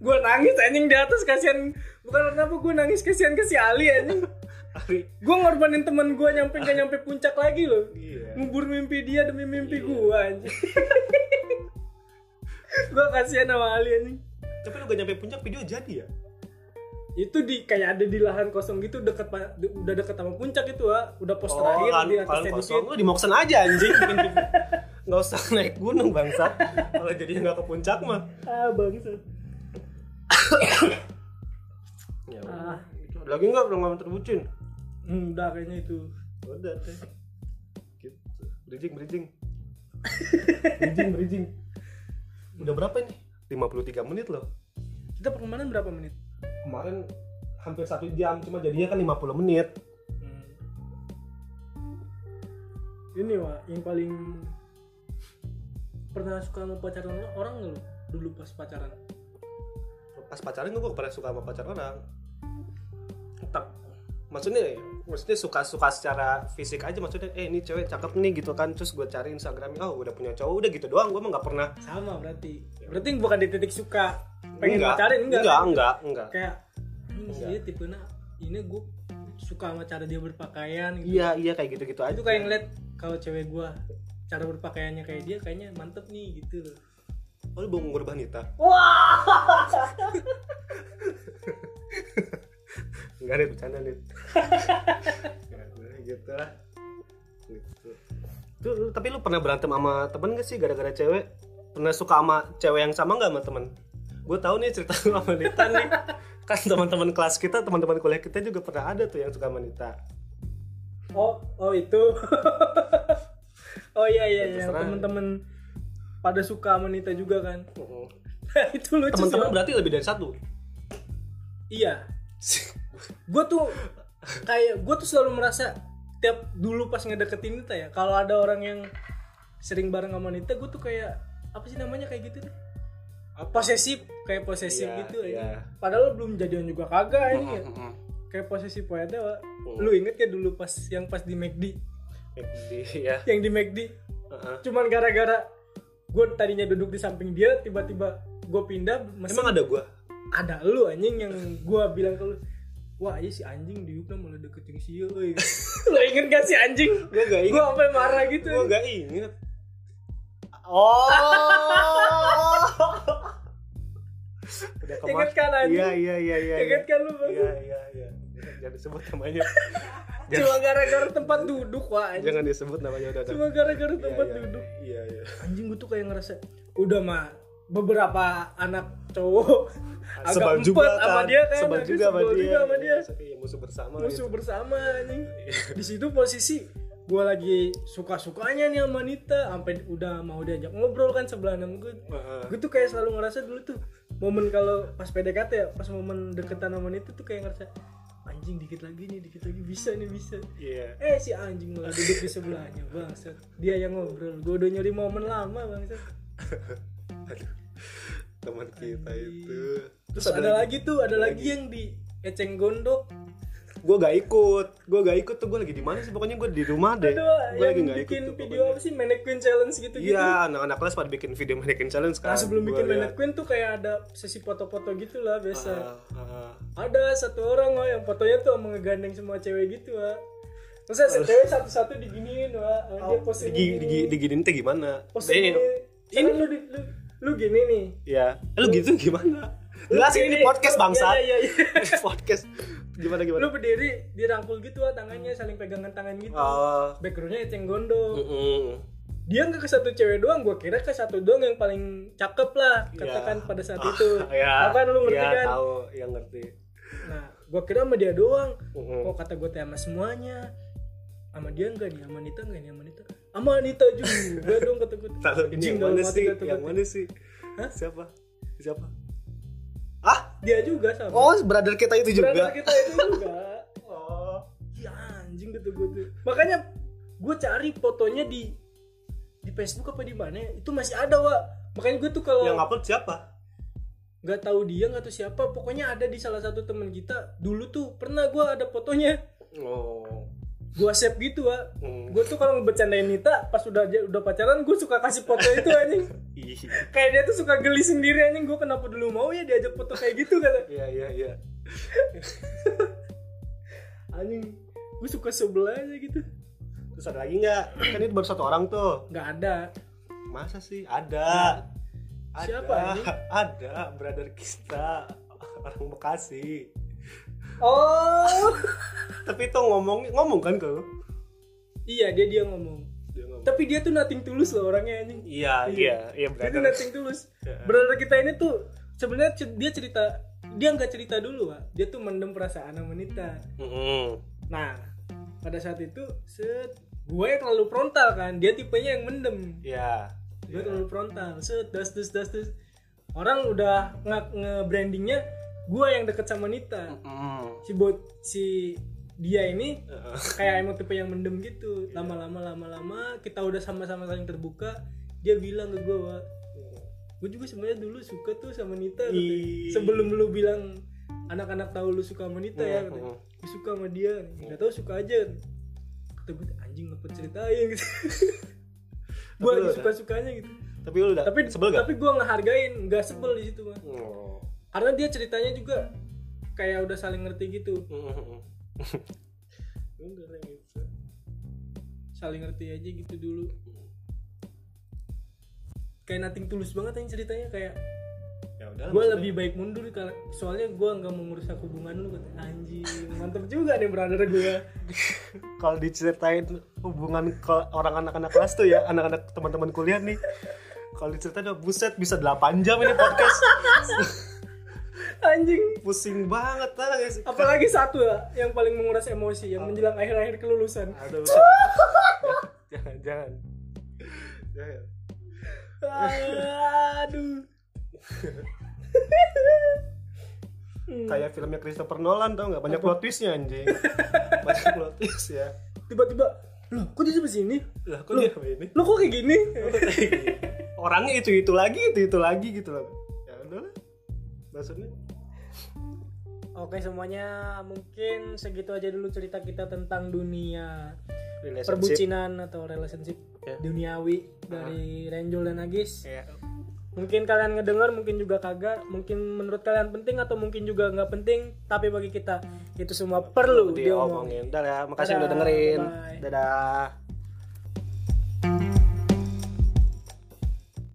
Speaker 2: gue nangis anjing di atas kasihan bukan kenapa gue nangis kasihan ke si Ali anjing
Speaker 1: Ali
Speaker 2: gue ngorbanin temen gue nyampe gak nyampe puncak lagi loh
Speaker 1: Iya.
Speaker 2: ngubur mimpi dia demi mimpi gue anjing gue kasihan sama Ali anjing
Speaker 1: tapi lu gak nyampe puncak video jadi ya
Speaker 2: itu di kayak ada di lahan kosong gitu deket pa- de- udah deket sama puncak itu ah udah pos
Speaker 1: Oh,
Speaker 2: terakhir
Speaker 1: kan,
Speaker 2: di
Speaker 1: kalau
Speaker 2: atasnya
Speaker 1: kosong
Speaker 2: dikit
Speaker 1: lu di Moksen aja anjing nggak usah naik gunung bangsat kalau jadinya nggak ke puncak mah
Speaker 2: ah
Speaker 1: ya
Speaker 2: bangsat Ah.
Speaker 1: udah. Gitu. lagi nggak pernah terbucin
Speaker 2: hmm, udah kayaknya itu
Speaker 1: udah teh gitu bridging bridging bridging bridging udah berapa ini 53 menit loh
Speaker 2: kita perkembangan berapa menit
Speaker 1: kemarin hampir satu jam cuma jadinya kan 50 menit
Speaker 2: Hmm. Ini wah yang paling pernah suka sama pacaran orang- orang nggak lu dulu pas pacaran?
Speaker 1: pas pacaran gue pernah suka sama pacar orang
Speaker 2: Tetap.
Speaker 1: maksudnya maksudnya suka suka secara fisik aja maksudnya eh ini cewek cakep nih gitu kan terus gue cari instagramnya oh udah punya cowok udah gitu doang gue mah nggak pernah
Speaker 2: Sama berarti. Berarti bukan di titik suka. Pengen
Speaker 1: Enggak.
Speaker 2: pacaran enggak?
Speaker 1: enggak
Speaker 2: kan?
Speaker 1: enggak enggak
Speaker 2: Kayak ini sih
Speaker 1: Enggak.
Speaker 2: tipe ini gue suka sama cara dia berpakaian gitu.
Speaker 1: iya iya kayak gitu gitu aja
Speaker 2: Itu kayak ngeliat kalau cewek gua cara berpakaiannya kayak dia kayaknya mantep nih gitu loh.
Speaker 1: oh lu mau ngurbanita
Speaker 2: Wah.
Speaker 1: enggak ada bercanda nih gitu lah gitu Tuh, lu- tapi lu pernah berantem sama temen gak sih gara-gara cewek pernah suka sama cewek yang sama nggak sama temen gue tahu nih cerita lu sama Nita nih kan teman-teman kelas kita teman-teman kuliah kita juga pernah ada tuh yang suka sama Nita
Speaker 2: Oh, oh itu. oh iya
Speaker 1: Ya,
Speaker 2: iya iya.
Speaker 1: terserah.
Speaker 2: Temen-temen pada suka sama Nita juga kan? itu lucu sih,
Speaker 1: teman-teman
Speaker 2: Om.
Speaker 1: berarti lebih dari satu
Speaker 2: Iya. Gue tuh kayak gue tuh selalu merasa tiap dulu pas ngedeketin Nita ya, kalau ada orang yang sering bareng sama Nita, gue tuh kayak apa sih namanya kayak gitu deh. Posesif, kayak posesif
Speaker 1: Iya,
Speaker 2: gitu
Speaker 1: iya.
Speaker 2: ya. Padahal belum jadian juga kagak ini ya.
Speaker 1: Mm-mm.
Speaker 2: Kayak posesif aja Wak. Lu inget ya dulu pas yang pas di McD,
Speaker 1: Jadi, ya
Speaker 2: yang di McD
Speaker 1: Heeh.
Speaker 2: cuman gara-gara gue tadinya duduk di samping dia tiba-tiba gue pindah mesen-
Speaker 1: emang ada gua
Speaker 2: ada lu anjing yang gua bilang ke lu wah iya si anjing diukna mulai deketin si Yul euy." lu inget gak si anjing
Speaker 1: gua gak
Speaker 2: gua sampai marah gitu
Speaker 1: Gue gak inget Oh Udah kemar-
Speaker 2: Inget kan, anjing?
Speaker 1: Iya iya iya iya
Speaker 2: inget kan lu Bang?
Speaker 1: Iya iya iya Jangan disebut namanya
Speaker 2: cuma gara-gara tempat duduk wah anjing
Speaker 1: Jangan disebut namanya udah udah.
Speaker 2: cuma gara-gara
Speaker 1: Iya,
Speaker 2: tempat
Speaker 1: iya.
Speaker 2: duduk
Speaker 1: Iya iya
Speaker 2: anjing gua tuh kayak ngerasa udah mah beberapa anak cowok agak
Speaker 1: Sebal
Speaker 2: empet
Speaker 1: juga
Speaker 2: sama
Speaker 1: kan
Speaker 2: dia kan
Speaker 1: Sebal
Speaker 2: aduh,
Speaker 1: juga sama
Speaker 2: sebel
Speaker 1: dia
Speaker 2: juga sama dia.
Speaker 1: Iya, Musuh bersama
Speaker 2: musuh
Speaker 1: gitu.
Speaker 2: bersama anjing di situ posisi gue lagi suka sukanya nih sama Nita sampai udah mau diajak ngobrol kan sebelah enam gue
Speaker 1: Heeh.
Speaker 2: gue tuh kayak selalu ngerasa dulu tuh momen kalau pas PDKT ya pas momen deketan sama Nita tuh kayak ngerasa anjing dikit lagi nih dikit lagi bisa nih bisa
Speaker 1: Iya
Speaker 2: eh si anjing malah duduk di sebelahnya bangsat dia yang ngobrol gue udah nyari momen lama bangsat
Speaker 1: Aduh Teman kita itu
Speaker 2: Iya. terus ada lagi tuh ada lagi yang di eceng gondok
Speaker 1: Gue gak ikut Gue gak ikut tuh Gue lagi di mana sih Pokoknya gue di rumah deh
Speaker 2: ada
Speaker 1: Gue lagi
Speaker 2: yang
Speaker 1: gak ikut
Speaker 2: bikin
Speaker 1: tuh
Speaker 2: video
Speaker 1: pokoknya.
Speaker 2: apa sih mannequin challenge gitu gitu
Speaker 1: Iya, anak-anak kelas pada bikin video mannequin challenge kan.
Speaker 2: Nah sebelum bikin
Speaker 1: Gua
Speaker 2: Manet
Speaker 1: liat.
Speaker 2: Queen tuh kayak ada sesi foto-foto gitu lah biasa.
Speaker 1: Ah, ah, ah.
Speaker 2: Ada satu orang oh yang fotonya tuh sama ngegandeng semua cewek gitu ah. Terus SCTW satu-satu diginiin wah, sama dia pos ini.
Speaker 1: Oh, Digi, digi, diginin teh gimana?
Speaker 2: Pos
Speaker 1: Eh,
Speaker 2: ini. Sekarang lu, di- lu, lu gini nih.
Speaker 1: Ya, Eh, lu gitu gimana?
Speaker 2: Lu
Speaker 1: Jelasin ini
Speaker 2: gini.
Speaker 1: di podcast bangsat.
Speaker 2: Iya, iya, iya.
Speaker 1: podcast gimana
Speaker 2: Lu
Speaker 1: gimana?
Speaker 2: berdiri dirangkul gitu ah tangannya saling pegangan tangan gitu.
Speaker 1: Ah,
Speaker 2: Backgroundnya Eceng Gondo.
Speaker 1: mm-mm.
Speaker 2: Dia nggak ke satu cewek doang, gua kira ke satu doang yang paling cakep lah katakan
Speaker 1: Iya.
Speaker 2: pada saat
Speaker 1: Ah,
Speaker 2: itu.
Speaker 1: Iya.
Speaker 2: Tahu kan lu ngerti
Speaker 1: Iya,
Speaker 2: kan?
Speaker 1: tahu, yang ngerti.
Speaker 2: Nah, gua kira sama dia doang.
Speaker 1: Mm-mm.
Speaker 2: Kok Oh, kata gua teh sama semuanya? Sama dia enggak nih, sama Anita enggak nih, sama Anita. Sama Anita juga dong kata gua.
Speaker 1: Tahu ini
Speaker 2: Anjing,
Speaker 1: yang
Speaker 2: dalam
Speaker 1: mana
Speaker 2: hati
Speaker 1: sih?
Speaker 2: kata gua
Speaker 1: Yang
Speaker 2: teh.
Speaker 1: mana sih?
Speaker 2: Hah?
Speaker 1: Siapa? Siapa? Ah,
Speaker 2: Dia juga sama.
Speaker 1: oh, brother kita itu
Speaker 2: Berangkat
Speaker 1: juga.
Speaker 2: kita itu juga.
Speaker 1: Oh.
Speaker 2: Ya anjing gitu gue tuh. Makanya gue cari fotonya di di Facebook apa di mana ya, itu masih ada wa makanya gue tuh
Speaker 1: Yang
Speaker 2: kalau
Speaker 1: upload siapa?
Speaker 2: nggak tahu dia nggak tahu siapa pokoknya ada di salah satu temen kita dulu tuh pernah gue ada fotonya
Speaker 1: Oh.
Speaker 2: gue save gitu wa
Speaker 1: Hmm.
Speaker 2: gue tuh kalau ngebecandain Nita pas udah udah pacaran gue suka kasih foto itu anjing
Speaker 1: Ih.
Speaker 2: kayak dia tuh suka geli sendiri anjing gue kenapa dulu mau ya diajak foto kayak gitu kata
Speaker 1: Iya, iya, iya.
Speaker 2: anjing gue suka sebelah aja gitu
Speaker 1: Terus ada lagi nggak? Kan itu baru satu orang tuh.
Speaker 2: nggak ada
Speaker 1: Masa sih? Ada. Ada.
Speaker 2: Siapa ini?
Speaker 1: Ada, brother kita. Orang Bekasi.
Speaker 2: oh
Speaker 1: Tapi itu ngomong ngomong kan ke lu?
Speaker 2: Iya dia dia ngomong.
Speaker 1: Dia ngomong.
Speaker 2: Tapi dia tuh nothing tulus loh orangnya anjing.
Speaker 1: Iya, iya, iya
Speaker 2: Dia tuh
Speaker 1: brother.
Speaker 2: nothing tulus.
Speaker 1: Iya.
Speaker 2: Brother kita ini tuh sebenarnya cer- dia cerita dia nggak cerita dulu Wak. Dia tuh mendem perasaan sama Nita.
Speaker 1: Mm-mm.
Speaker 2: Nah pada saat itu set gue terlalu frontal kan. Dia tipenya yang mendem.
Speaker 1: Iya.
Speaker 2: Gue terlalu frontal. Set das das das das. Orang udah nge- nge-brandingnya gue yang deket sama Nita.
Speaker 1: Mm-mm.
Speaker 2: Si bot si dia ini
Speaker 1: Heeh.
Speaker 2: kayak emang tipe yang mendem gitu
Speaker 1: Iya.
Speaker 2: lama-lama lama-lama kita udah sama-sama saling terbuka dia bilang ke gue gue juga sebenarnya dulu suka tuh sama Nita katanya.
Speaker 1: Ih.
Speaker 2: sebelum lu bilang anak-anak tahu lu suka sama Nita ya
Speaker 1: Iya,
Speaker 2: katanya.
Speaker 1: heeh.
Speaker 2: Gua suka sama dia nggak tahu suka aja kata gue anjing ngapa ceritain gitu gue
Speaker 1: Tapi lu
Speaker 2: lagi
Speaker 1: udah-
Speaker 2: suka sukanya gitu
Speaker 1: Tapi lu udah
Speaker 2: tapi
Speaker 1: sebel gak?
Speaker 2: tapi gue ngehargain nggak sebel di situ Bang.
Speaker 1: Oh.
Speaker 2: karena dia ceritanya juga kayak udah saling ngerti gitu
Speaker 1: Mm-mm. Udah kayak gitu.
Speaker 2: saling ngerti aja gitu dulu kayak nothing tulus banget yang ceritanya kayak
Speaker 1: Ya udah.
Speaker 2: gue lebih baik mundur kalau soalnya gue nggak mau merusak hubungan lu kata anjing mantep juga nih brother gue
Speaker 1: kalau diceritain hubungan ke orang anak-anak kelas tuh ya anak-anak teman-teman kuliah nih kalau diceritain udah buset bisa 8 jam ini podcast
Speaker 2: anjing
Speaker 1: pusing banget lah guys
Speaker 2: apalagi satu ya, yang paling menguras emosi yang menjelang akhir-akhir kelulusan
Speaker 1: aduh jangan jangan jangan
Speaker 2: aduh Hmm.
Speaker 1: kayak filmnya Christopher Nolan tau nggak banyak plot twistnya anjing banyak plot twist ya
Speaker 2: tiba-tiba loh kok dia sampai sini
Speaker 1: lah kok dia ini
Speaker 2: lo kok kayak gini
Speaker 1: orangnya itu itu lagi itu itu lagi gitu loh ya udah lah maksudnya
Speaker 2: Oke semuanya mungkin segitu aja dulu cerita kita tentang dunia
Speaker 1: relationship
Speaker 2: perbucinan atau relationship
Speaker 1: Ya.
Speaker 2: duniawi dari Renjol dan Agis.
Speaker 1: ya.
Speaker 2: Mungkin kalian ngedengar, mungkin juga kagak, mungkin menurut kalian penting atau mungkin juga nggak penting, Hmm. tapi bagi kita itu semua perlu
Speaker 1: diomongin.
Speaker 2: diomongin.
Speaker 1: Dadah, makasih
Speaker 2: Dadah,
Speaker 1: udah dengerin.
Speaker 2: bye-bye.
Speaker 1: Dadah.